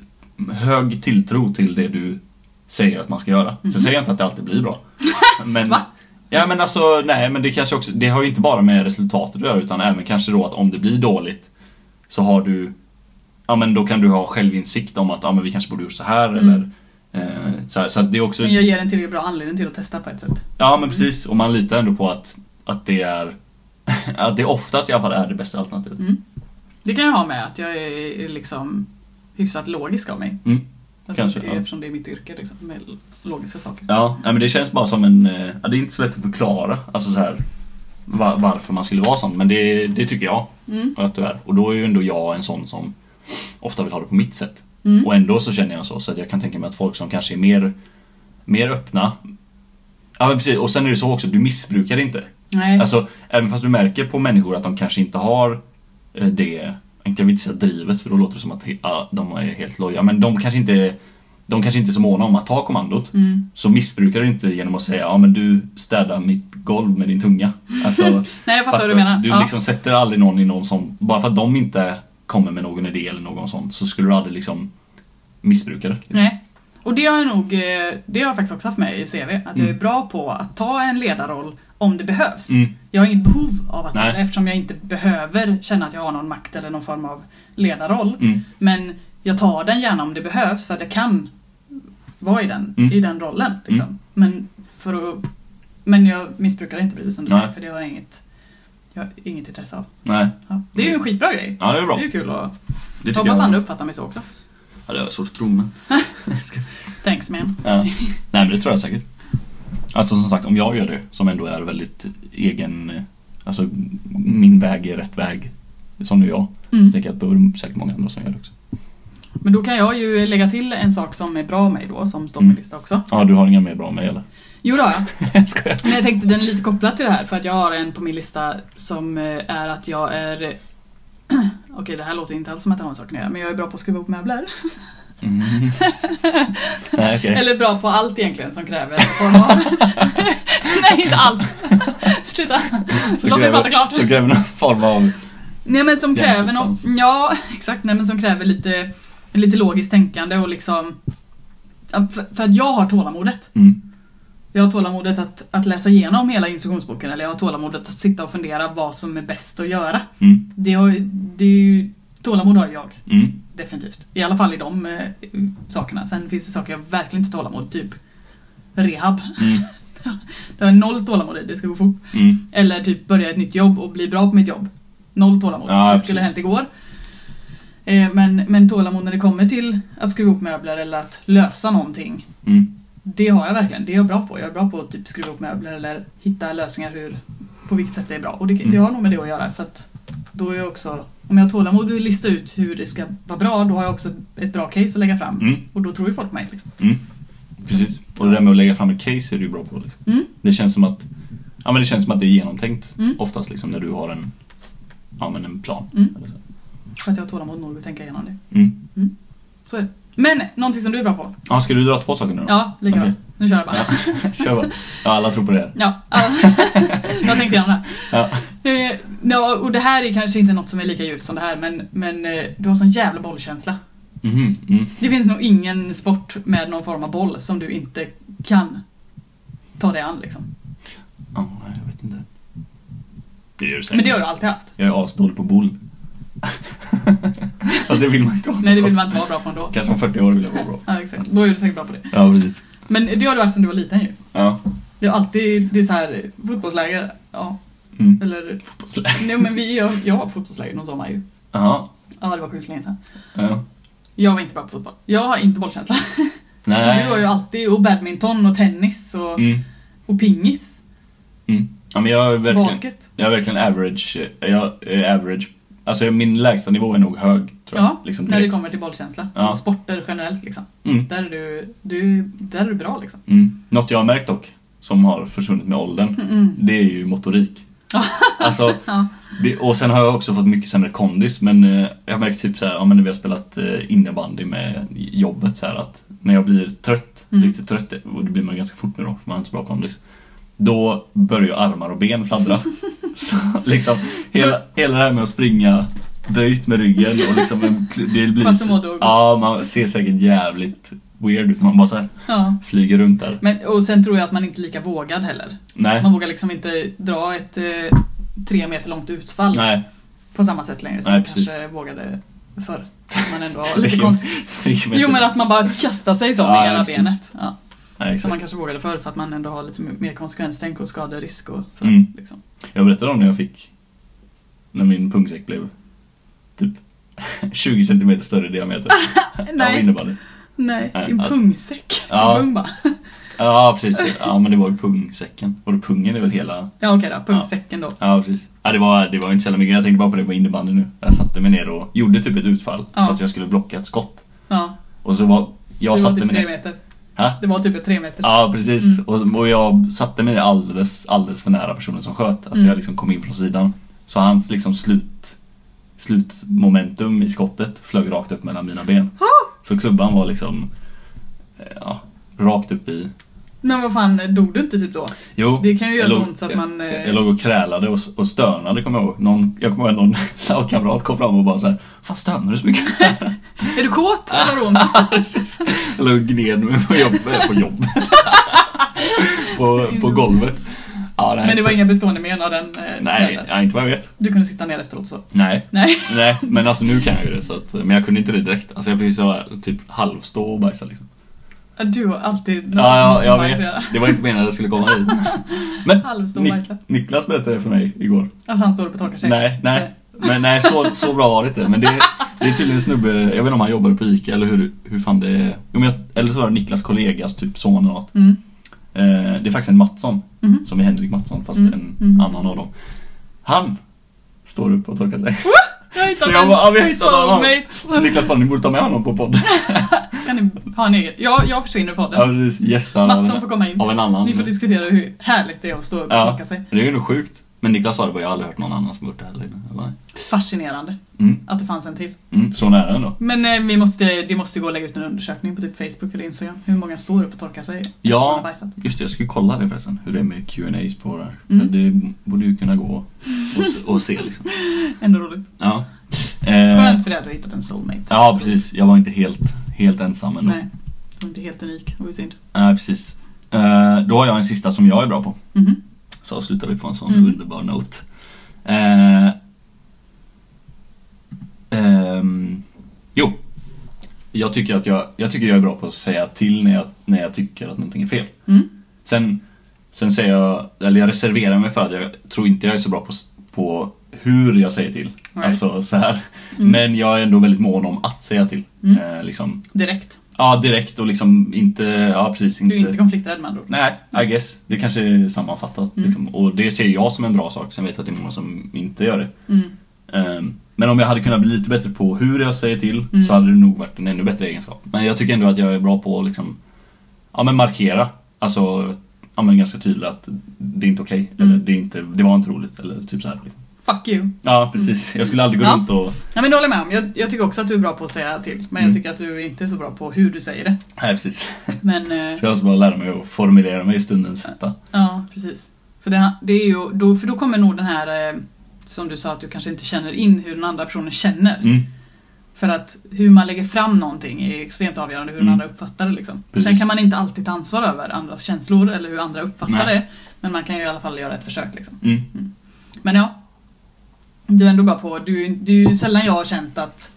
hög tilltro till det du säger att man ska göra. Sen säger jag inte att det alltid blir bra. Men,
Mm. Va?
Ja men alltså nej men det kanske också, det har ju inte bara med resultatet att göra utan även kanske då att om det blir dåligt så har du, ja men då kan du ha självinsikt om att ja men vi kanske borde gjort så här eller eh, så, här, så att det är också
Mm. Men jag ger en tillräckligt bra anledning till att testa på ett sätt.
Ja men precis, och man litar ändå på att, att det är att det oftast i alla fall är det bästa alternativet.
Mm. Det kan jag ha med, att jag är liksom hyfsat logisk av mig.
Mm.
Alltså,
Kanske,
det är,
ja.
Eftersom det är mitt yrke liksom, med logiska saker.
Ja, nej, men det känns bara som en, eh, ja, det är inte så lätt att förklara alltså så här, va- varför man skulle vara sån men det, det tycker jag
Mm.
att du är. Och då är ju ändå jag en sån som ofta vill ha det på mitt sätt.
Mm.
Och ändå så känner jag så, så att jag kan tänka mig att folk som kanske är mer, mer öppna Ja men precis, och sen är det så också, du missbrukar det inte.
Nej.
Alltså, även fast du märker på människor att de kanske inte har eh, det, inte jag vill inte säga drivet för då låter det som att he- ah, de är helt loja, men de kanske inte är- de kanske inte är så måna om att ta kommandot.
Mm.
Så missbrukar du inte genom att säga ja men du städar mitt golv med din tunga. Alltså,
Nej, jag fattar vad du menar.
Du
Ja.
liksom sätter aldrig någon i någon sån, bara för att de inte kommer med någon idé eller någon sån så skulle du aldrig liksom missbruka det.
Nej. Och det har jag nog, eh, det har jag faktiskt också haft med i CV, att jag är bra på att ta en ledarroll om det behövs.
Mm.
Jag har inget behov av att ta
Nej.
det eftersom jag inte behöver känna att jag har någon makt eller någon form av ledarroll.
Mm.
Men jag tar den gärna om det behövs för att jag kan vara i den,
Mm.
i den rollen. Liksom.
Mm.
Men, för att, men jag missbrukar det inte precis som du
Nej.
säger för det har jag inget, jag har inget intresse av.
Nej,
Ja. Det är ju en skitbra grej.
ja det är bra.
Det är ju kul att...
Det tycker
Hoppas
jag.
andra uppfattar mig så också.
Ja, det har jag svårt att tro men.
Thanks man.
Ja. Nej men det tror jag säkert. Alltså som sagt om jag gör det som ändå är väldigt egen, eh, alltså min väg är rätt väg. Som nu jag.
Mm.
Så tänker jag att då är det säkert många andra som gör det också.
Men då kan jag ju lägga till en sak som är bra med mig då, som står på
Mm.
min lista också.
Ja du har inga mer bra med eller?
Jo då, ja.
Skojar.
men jag tänkte den är lite kopplad till det här för att jag har en på min lista som eh, är att jag är... Okej, det här låter inte alls som att det har med saken att göra, men jag är bra på att skruva ihop möbler.
Mm. Nej okej.
Eller bra på allt egentligen som kräver en form av... Nej, inte allt! Sluta!
Så
Låt mig
kräver-
prata klart.
Så kräver någon form av,
Nej men som kräver någon,
Hjärnsubstans.
ja exakt, nej men som kräver lite, lite logiskt tänkande och liksom... Ja, För, för att jag har tålamodet.
mm,
Jag har tålamodet att, att läsa igenom hela instruktionsboken eller jag har tålamodet att sitta och fundera vad som är bäst att göra.
mm,
Det, har, ju- det är ju, tålamod har jag,
mm,
definitivt. I alla fall i de eh, sakerna. Sen finns det saker jag verkligen inte har tålamod, typ rehab.
mm,
Det har jag noll tålamod i, det ska gå fort.
mm.
Eller typ börja ett nytt jobb och bli bra på mitt jobb. Noll tålamod.
Ja,
det skulle ha
precis.
hänt igår. Eh, Men, men tålamod när det kommer till att skruva ihop möbler eller att lösa någonting.
mm.
Det har jag verkligen, det är jag bra på. Jag är bra på att typ skruva ihop möbler eller hitta lösningar hur, på vilket sätt det är bra. Och det, det
Mm.
har nog med det att göra för att då är jag också, om jag har tålamod och vill lista ut hur det ska vara bra, då har jag också ett bra case att lägga fram.
Mm.
Och då tror ju folk mig. Liksom.
Precis. Och det där med att lägga fram ett case är du bra på. Liksom.
Mm.
Det känns som att Ja men det känns som att det är genomtänkt
Mm.
oftast liksom när du har en, ja, men en plan.
Mm.
Eller så.
För att jag har tålamod nog att tänka igenom det.
Mm.
Så är det. Men någonting som du är bra på.
Ja, ska du dra två saker nu då?
Ja, lika
Okej.
bra. Nu kör jag bara.
Kör bara. Ja, alla tror på det. här.
Ja, ja. jag tänkte igenom det.
Ja.
här. Eh, ja, och det här är kanske inte något som är lika djupt som det här men, men eh, du har sån jävla bollkänsla.
Mhm, mm.
Det finns nog ingen sport med någon form av boll som du inte kan ta dig an liksom.
Ja, nej, jag vet inte. Det gör du säkert.
Men det har du alltid haft.
Jag är asdålig på boll. Fast det vill man inte vara så
Nej, det vill
bra
man inte vara bra på ändå.
på. Kanske om 40 år vill jag vara bra.
Ja, exakt. Då är du säkert bra på det.
Ja, precis.
Men det har du haft sedan du var liten ju.
Ja.
Det är alltid, det är så här, fotbollsläger, ja.
Mm.
Eller, nej men vi, jag, jag var på fotbollsläger någon sommar ju.
Jaha.
Ja, det var sjukt länge sedan.
Ja.
Jag var inte bra på fotboll. Jag har inte bollkänsla.
Nej.
Du har ju alltid, och badminton och tennis och,
Mm.
och pingis.
Mm. Ja, men jag är verkligen...
Basket.
Jag är verkligen average. eh, Jag är average. Alltså jag- min lägsta nivå är nog hög, tror jag.
Ja,
Liksom
när det
direkt.
kommer till bollkänsla.
Ja.
Och sporter generellt liksom.
Mm.
Där är du, du, där är du bra liksom.
Mm. Något jag har märkt dock, som har försvunnit med åldern,
Mm-mm.
det är ju motorik. alltså,
Ja.
det, och sen har jag också fått mycket sämre kondis, men eh, jag har märkt typ så här, ja, men när vi har spelat eh, innebandy med jobbet så här att när jag blir trött,
Mm.
riktigt trött, och det blir man ganska fort nu då, för man har inte så bra kondis, då börjar ju armar och ben fladdra. så liksom, hela, hela det här med att springa böjt med ryggen och liksom, en- det blir...
Fast du mår då.
Ja, man ser säkert jävligt weird ut, man bara så här
ja.
flyger runt där.
Men, och sen tror jag att man inte är lika vågad heller.
Nej.
Man vågar liksom inte dra ett eh, tre meter långt utfall
Nej,
på samma sätt längre som
Nej,
man
precis.
kanske vågade förr. Att Man ändå har lite konstigt. Jo men att man bara kastar sig så
Ja,
med ena
precis.
benet. Ja,
Nej,
som
exakt.
man kanske vågade förr för att man ändå har lite mer konsekvenstänk och skaderisk och så.
Mm.
Liksom.
Jag berättade om när jag fick, när min pungsäck blev typ 20 cm större i diameter. Av
Ah, Nej,
innebandy.
nej,
Nej,
din
alltså.
pungsäck.
Ja.
Din pung bara.
Ja precis, ja men det var ju pungsäcken. Och det pungen är väl hela...
Ja okej då, pungsäcken då.
Ja precis. Ja, det, var, det var ju inte så jävla mycket, jag tänkte bara på det på innebandy nu. Jag satte mig ner och gjorde typ ett utfall,
Ja.
fast jag skulle blocka ett skott.
Ja,
Och så var... Jag
det var
satte
typ
mig
tre
ner...
meter.
Hä?
Det var typ ett tre meter.
Ja precis, och, och jag satte mig alldeles, alldeles för nära personen som sköt. Alltså
Mm.
jag liksom kom in från sidan. Så hans liksom slut, slutmomentum i skottet flög rakt upp mellan mina ben. Så klubban var liksom eh, ja, rakt upp i...
Men vad fan, dog du inte typ då?
Jo,
Det kan ju göra
jag
så
låg-
ont så att man... eh,
jag, jag låg och krälade och, och stönade kommer jag ihåg. Någon, jag kommer ihåg att någon lagkamrat kom fram och bara så här, Fan stönar du så mycket?
Är du kåt eller ont?
Precis. Jag låg och gned mig på jobbet. På, jobb. på, på golvet. Ja, nej,
Men det var
så-
inga bestående men av den eh,
Nej,
smällen?
ja, inte vad jag vet.
Du kunde sitta ner efteråt så?
Nej.
Nej.
Nej, men alltså nu kan jag ju det. Så att, men jag kunde inte det direkt. Alltså jag fick så här, typ halvstå och bajsa liksom.
Du har alltid
Ja, ja jag
bajs att
vet.
göra.
Det var inte meningen att jag skulle komma hit. Men
Halvstå och bajsa.
Nik- Niklas berättade det för mig igår.
Att han står och Eh, torkar sig?
Nej, nej. Men nej, så, så bra var det inte. Men det, det är tydligen en snubbe, jag vet inte om han jobbade på ICA eller hur, hur fan det är. Jo, men jag, eller så var det Niklas kollegas typ son eller något.
Mm.
Eh, det är faktiskt en Mattsson.
Mhm.
Som är Henrik Mattsson fast
Mm,
en
mhm.
annan av dem. Han står upp och torkar sig.
Jag har hittat
Så jag
en
bara, ja, vi har hittat honom.
soulmate.
Så Niklas bara, ni borde ta med honom på podden.
Ska ni ha en egen? Jag, jag försvinner på
Ja
podden.
precis, gästar
Mattsson
av,
får komma in.
en- av en annan.
Ni får diskutera hur härligt det är att stå upp och
Ja.
torka sig.
Men Det är ju nog sjukt. Men Niklas sa det bara, jag har aldrig hört någon annan som gjort det heller innan. Jag bara, nej.
Fascinerande
Mm,
att det fanns en till.
mm, så nära ändå.
Men eh, vi måste, det måste ju gå att lägga ut en undersökning på typ Facebook eller Instagram. Hur många står upp och torkar sig? Man har
Ja,
bajsat.
just det, jag skulle kolla det förresten. Hur det är med Q&As på det här.
Mm.
För det borde ju kunna gå och, se- och se liksom.
Ändå roligt.
Ja. Eh,
Skönt för det att du har hittat en soulmate.
ja, precis. Jag var inte helt, helt ensam ändå.
Nej, du är inte helt unik. Det var ju synd.
Nej, precis. Eh, då har jag en sista som jag är bra på.
Mhm.
Så avslutar vi på en sån
Mm.
underbar note. Eh, ehm, jo, jag tycker att jag, jag tycker jag är bra på att säga till när jag, när jag tycker att någonting är fel.
Mm.
Sen, sen säger jag, eller jag reserverar mig för att jag tror inte jag är så bra på, s- på hur jag säger till.
Right.
Alltså så här.
Mm.
Men jag är ändå väldigt mån om att säga till.
Mm.
Eh, liksom,
Direkt.
ja, direkt och liksom inte, ja precis.
Du är inte konflikträdd med andra ord.
Nej, I guess. Det kanske är sammanfattat.
Mm.
Liksom. Och det ser jag som en bra sak, sen vet jag att det är många som inte gör det.
Mm.
Ehm, Men om jag hade kunnat bli lite bättre på hur jag säger till
Mm.
så hade det nog varit en ännu bättre egenskap. Men jag tycker ändå att jag är bra på att liksom, ja, men markera. Alltså, ja, men ganska tydligt att det är inte okej.
Mm.
Eller det, är inte, det var inte roligt. Eller typ så här. Liksom.
Fuck you.
Ja, precis. Jag skulle aldrig gå
Mm. Ja.
runt och...
Ja, men det håller jag med om. Jag, jag tycker också att du är bra på att säga till. Men
Mm.
jag tycker att du inte är så bra på hur du säger det.
Nej, precis.
Men eh,
Så jag måste bara lära mig att formulera mig i stundens hetta.
ja, precis. För, det, det är ju, då, för då kommer nog den här eh, som du sa att du kanske inte känner in hur den andra personen känner.
Mm.
För att hur man lägger fram någonting är extremt avgörande hur den
Mm.
andra uppfattar det. Liksom.
Precis.
Sen kan man inte alltid ta ansvar över andras känslor eller hur andra uppfattar
Nej.
det. Men man kan ju i alla fall göra ett försök. Liksom.
Mm.
Men ja. Du är ändå bra på, du, det är ju sällan jag har känt att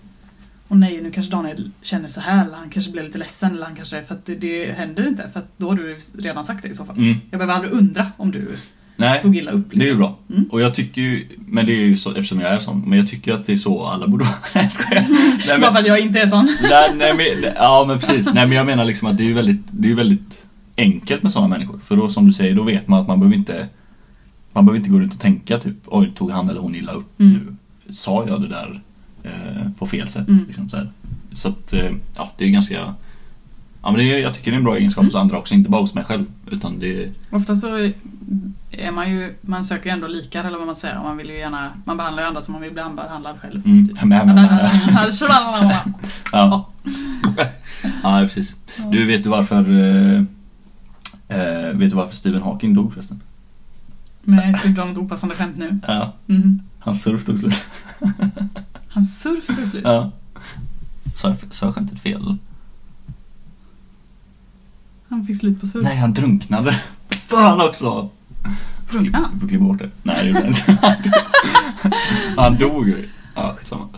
Åh nej, nu kanske Daniel känner så här eller han kanske blir lite ledsen eller han kanske, för att det, det händer inte för att då har du redan sagt det i så fall.
Mm.
Jag behöver aldrig undra om du
Nej,
tog illa upp.
det är ju
Liksom.
bra.
Mm.
Och jag tycker ju, men det är ju så, eftersom jag är sån, men jag tycker att det är så alla borde vara. Nej, jag skojar. Nej,
Bara
men,
för att jag inte är sån.
nej, nej, men, nej, ja, men precis. Nej, men jag menar liksom att det är ju väldigt, det är ju väldigt enkelt med sådana människor. För då, som du säger, då vet man att man behöver inte man behöver inte gå runt och tänka typ, oj, tog han eller hon illa upp
Mm.
nu? Sa jag det där eh, på fel sätt?
Mm.
Liksom, så här. så att, eh, ja, det är ganska, ja men det är, jag tycker det är en bra egenskap hos andra också, inte bara hos mig själv. Utan det,
Ofta så är man ju, man söker ju ändå likar eller vad man säger. Man vill ju gärna, man behandlar ju andra som man vill bli behandlad själv.
Mm.
Typ.
Men- men- men- Ja.
Ja.
ja, precis. Du, vet du varför eh, eh, Vet du varför Stephen Hawking dog förresten?
Men jag skulle dra något opassande skämt nu.
Ja,
Mhm.
hans surf tog slut.
Hans surf tog slut.
Ja. Mm. Sa jag, sa jag skämtet fel? eller?
Han fick slut på surf.
Nej, han drunknade. Fan också!
Drunknade
Vi
han?
får klippa bort det. Nej, det gjorde jag inte. Han dog ju. Ja, skitsamma.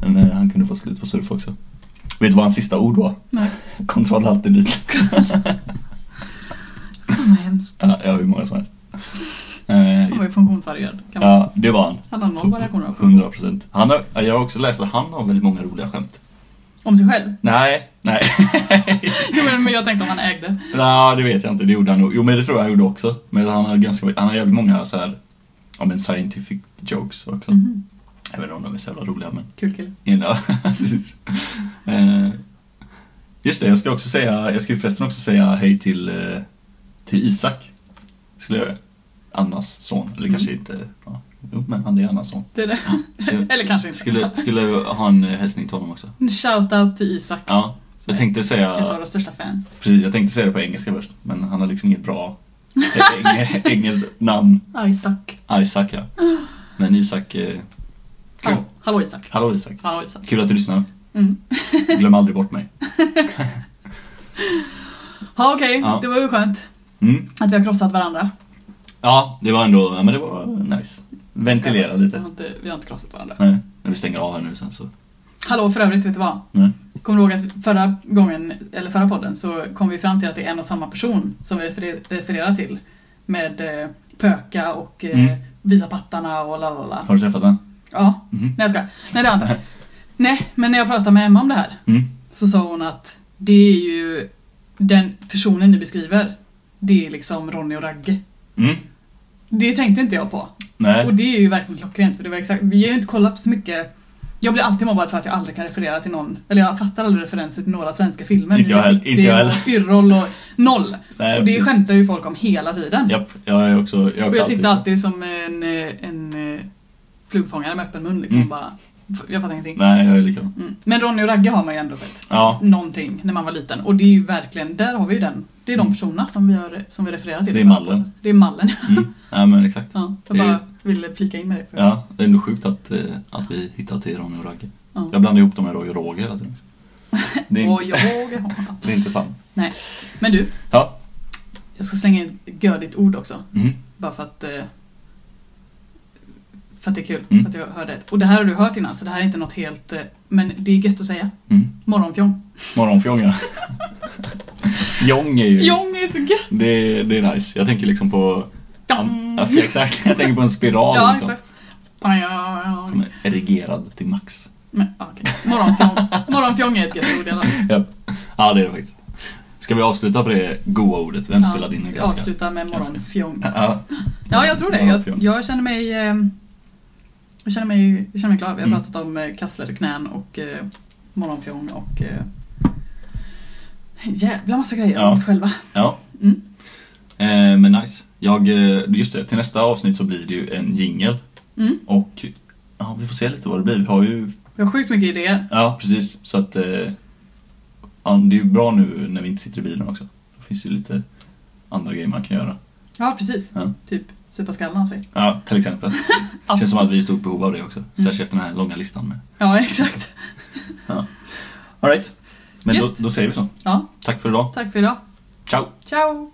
Men eh, han kunde få slut på surf också. Vet du vad hans sista ord var?
Nej.
Kontroll alltid dit.
Fan vad hemskt.
Ja, jag har hur många som helst. Eh,
Han var ju funktionsvarierad. Kan man.
Ja, det var han.
Hade han någon variation av funktion?
100 procent. Han har, jag har också läst att han har väldigt många roliga skämt.
Om sig själv?
Nej, nej.
Jo men- men jag tänkte om han ägde.
Nej, det vet jag inte. Det gjorde han nog. Jo, men det tror jag han gjorde också. Men han har, ganska, han har jävligt många så här, ja men scientific jokes också.
Mhm.
Jag vet inte om de är så jävla roliga, men
Kul kille.
ja, precis. Eh, Just det, jag ska också säga, jag ska ju förresten också säga hej till, eh, till Isak. Skulle jag göra. Annas son, eller kanske
Mm.
inte, ja. jo men han är Annas son.
Det är det.
Skulle-
Eller kanske inte.
Skulle, skulle ha en eh, hälsning till honom också.
En shoutout till Isak.
Ja,
som
jag
är
tänkte
Ett av
säga,
våra största fans.
precis jag tänkte säga det på engelska först, men han har liksom inget bra eng- engelskt namn.
Ja, Isak.
Isak ja. Men Isak, eh, kul.
Hallå, Hallå Isak.
Hallå Isak.
Hallå Isak.
Kul att du lyssnar.
Mm.
Glöm aldrig bort mig.
Ja okej,
Ja.
det var ju skönt
Mm.
att vi har krossat varandra.
Ja, det var ändå, ja men det var nice. Ventilera
Vi har
lite.
inte, vi har inte krossat varandra.
Nej, när vi stänger av här nu sen så.
Hallå för övrigt, vet du vad?
Nej.
Kommer du ihåg att förra gången, eller förra podden, så kom vi fram till att det är en och samma person som vi referer- refererar till. Med eh, pöka och eh,
Mm.
visa pattarna och la la la.
Har du träffat den?
Ja,
Mhm.
nej jag skojar. Nej det har jag inte. Nej, men när jag pratade med Emma om det här
Mm.
så sa hon att det är ju den personen ni beskriver. Det är liksom Ronny och Ragge.
Mm.
Det tänkte inte jag på.
Nej.
Och det är ju verkligen klockrent. För det var exakt, vi har ju inte kollat på så mycket. Jag blir alltid mobbad för att jag aldrig kan referera till någon. Eller jag fattar aldrig referenser till några svenska filmer.
Inte jag heller,
Nile
inte jag
City och Yrrol och noll.
Nej,
och det
precis.
skämtar ju folk om hela tiden.
Japp, jag är också, jag är
och
också
jag sitter alltid som en, eh, en eh, flugfångare med öppen mun liksom.
Mm.
Bara, f- jag fattar ingenting.
Nej, jag är likadan.
Mm. Men Ronny och Ragge har man ju ändå sett.
Ja,
Någonting när man var liten. Och det är ju verkligen, där har vi ju den. Det är de personerna som vi, har, som vi refererar till.
Mm. Det är mallen.
Det är mallen.
mm. ja men exakt.
Ja, jag bara ville flika in med det. för-
Ja, det är ändå sjukt att, eh, att vi hittar till Ronny och Ragge.
Ja.
Jag blandar ihop dem med Roy och Roger hela tiden. Det är
Och
inte,
jag har-
det är inte sant.
Nej. Men du,
Ja.
jag ska slänga in ett gödigt ord också.
Mm.
Bara för att... eh, För att det är kul.
Mm.
För att jag hörde det. Och det här har du hört innan, så det här är inte något helt... eh, Men det är gött att säga.
Mm.
Morgonfjong.
Morgonfjong ja. Fjong är ju...
Fjong är så gött!
Det, det är nice. Jag tänker liksom på...
Fjong.
Ja, exakt. Jag tänker på en spiral
Ja,
liksom,
exakt. Fan, ja, ja.
som är erigerad till max.
Men, ja, okej. Morgonfjong. Morgonfjong är ett gött ord i alla fall.
Ja. ja, det är det faktiskt. Ska vi avsluta på det goa ordet? Vem spelade in den
Vi
ganska?
avslutar med morgonfjong.
Ja,
Ja, jag tror det.
Morgonfjong.
Jag, jag känner mig... eh, Jag känner mig, jag känner mig klar. Vi har
Mm.
pratat om eh, kasslerknän och eh, morgonfjong och... Eh, en jävla massa grejer
Ja.
om oss själva.
ja.
Mm.
Eh, men nice. Jag, eh, just det, till nästa avsnitt så blir det ju en jingle.
Mm.
Och ja, vi får se lite vad det blir. Vi har ju,
Vi har sjukt mycket idéer.
ja precis, så att eh, ja, det är ju bra nu när vi inte sitter i bilen också. Då finns det ju lite andra grejer man kan göra.
Ja, precis.
Ja.
Typ supa skallen av sig.
Ja, till exempel.
Ja. Mm.
Känns som att vi är i stort behov av det också. Särskilt efter den här långa listan med.
Ja, exakt.
Alright, men då,
Gött.
då säger vi så.
Ja,
Tack för idag.
tack för idag.
Ciao!
Ciao!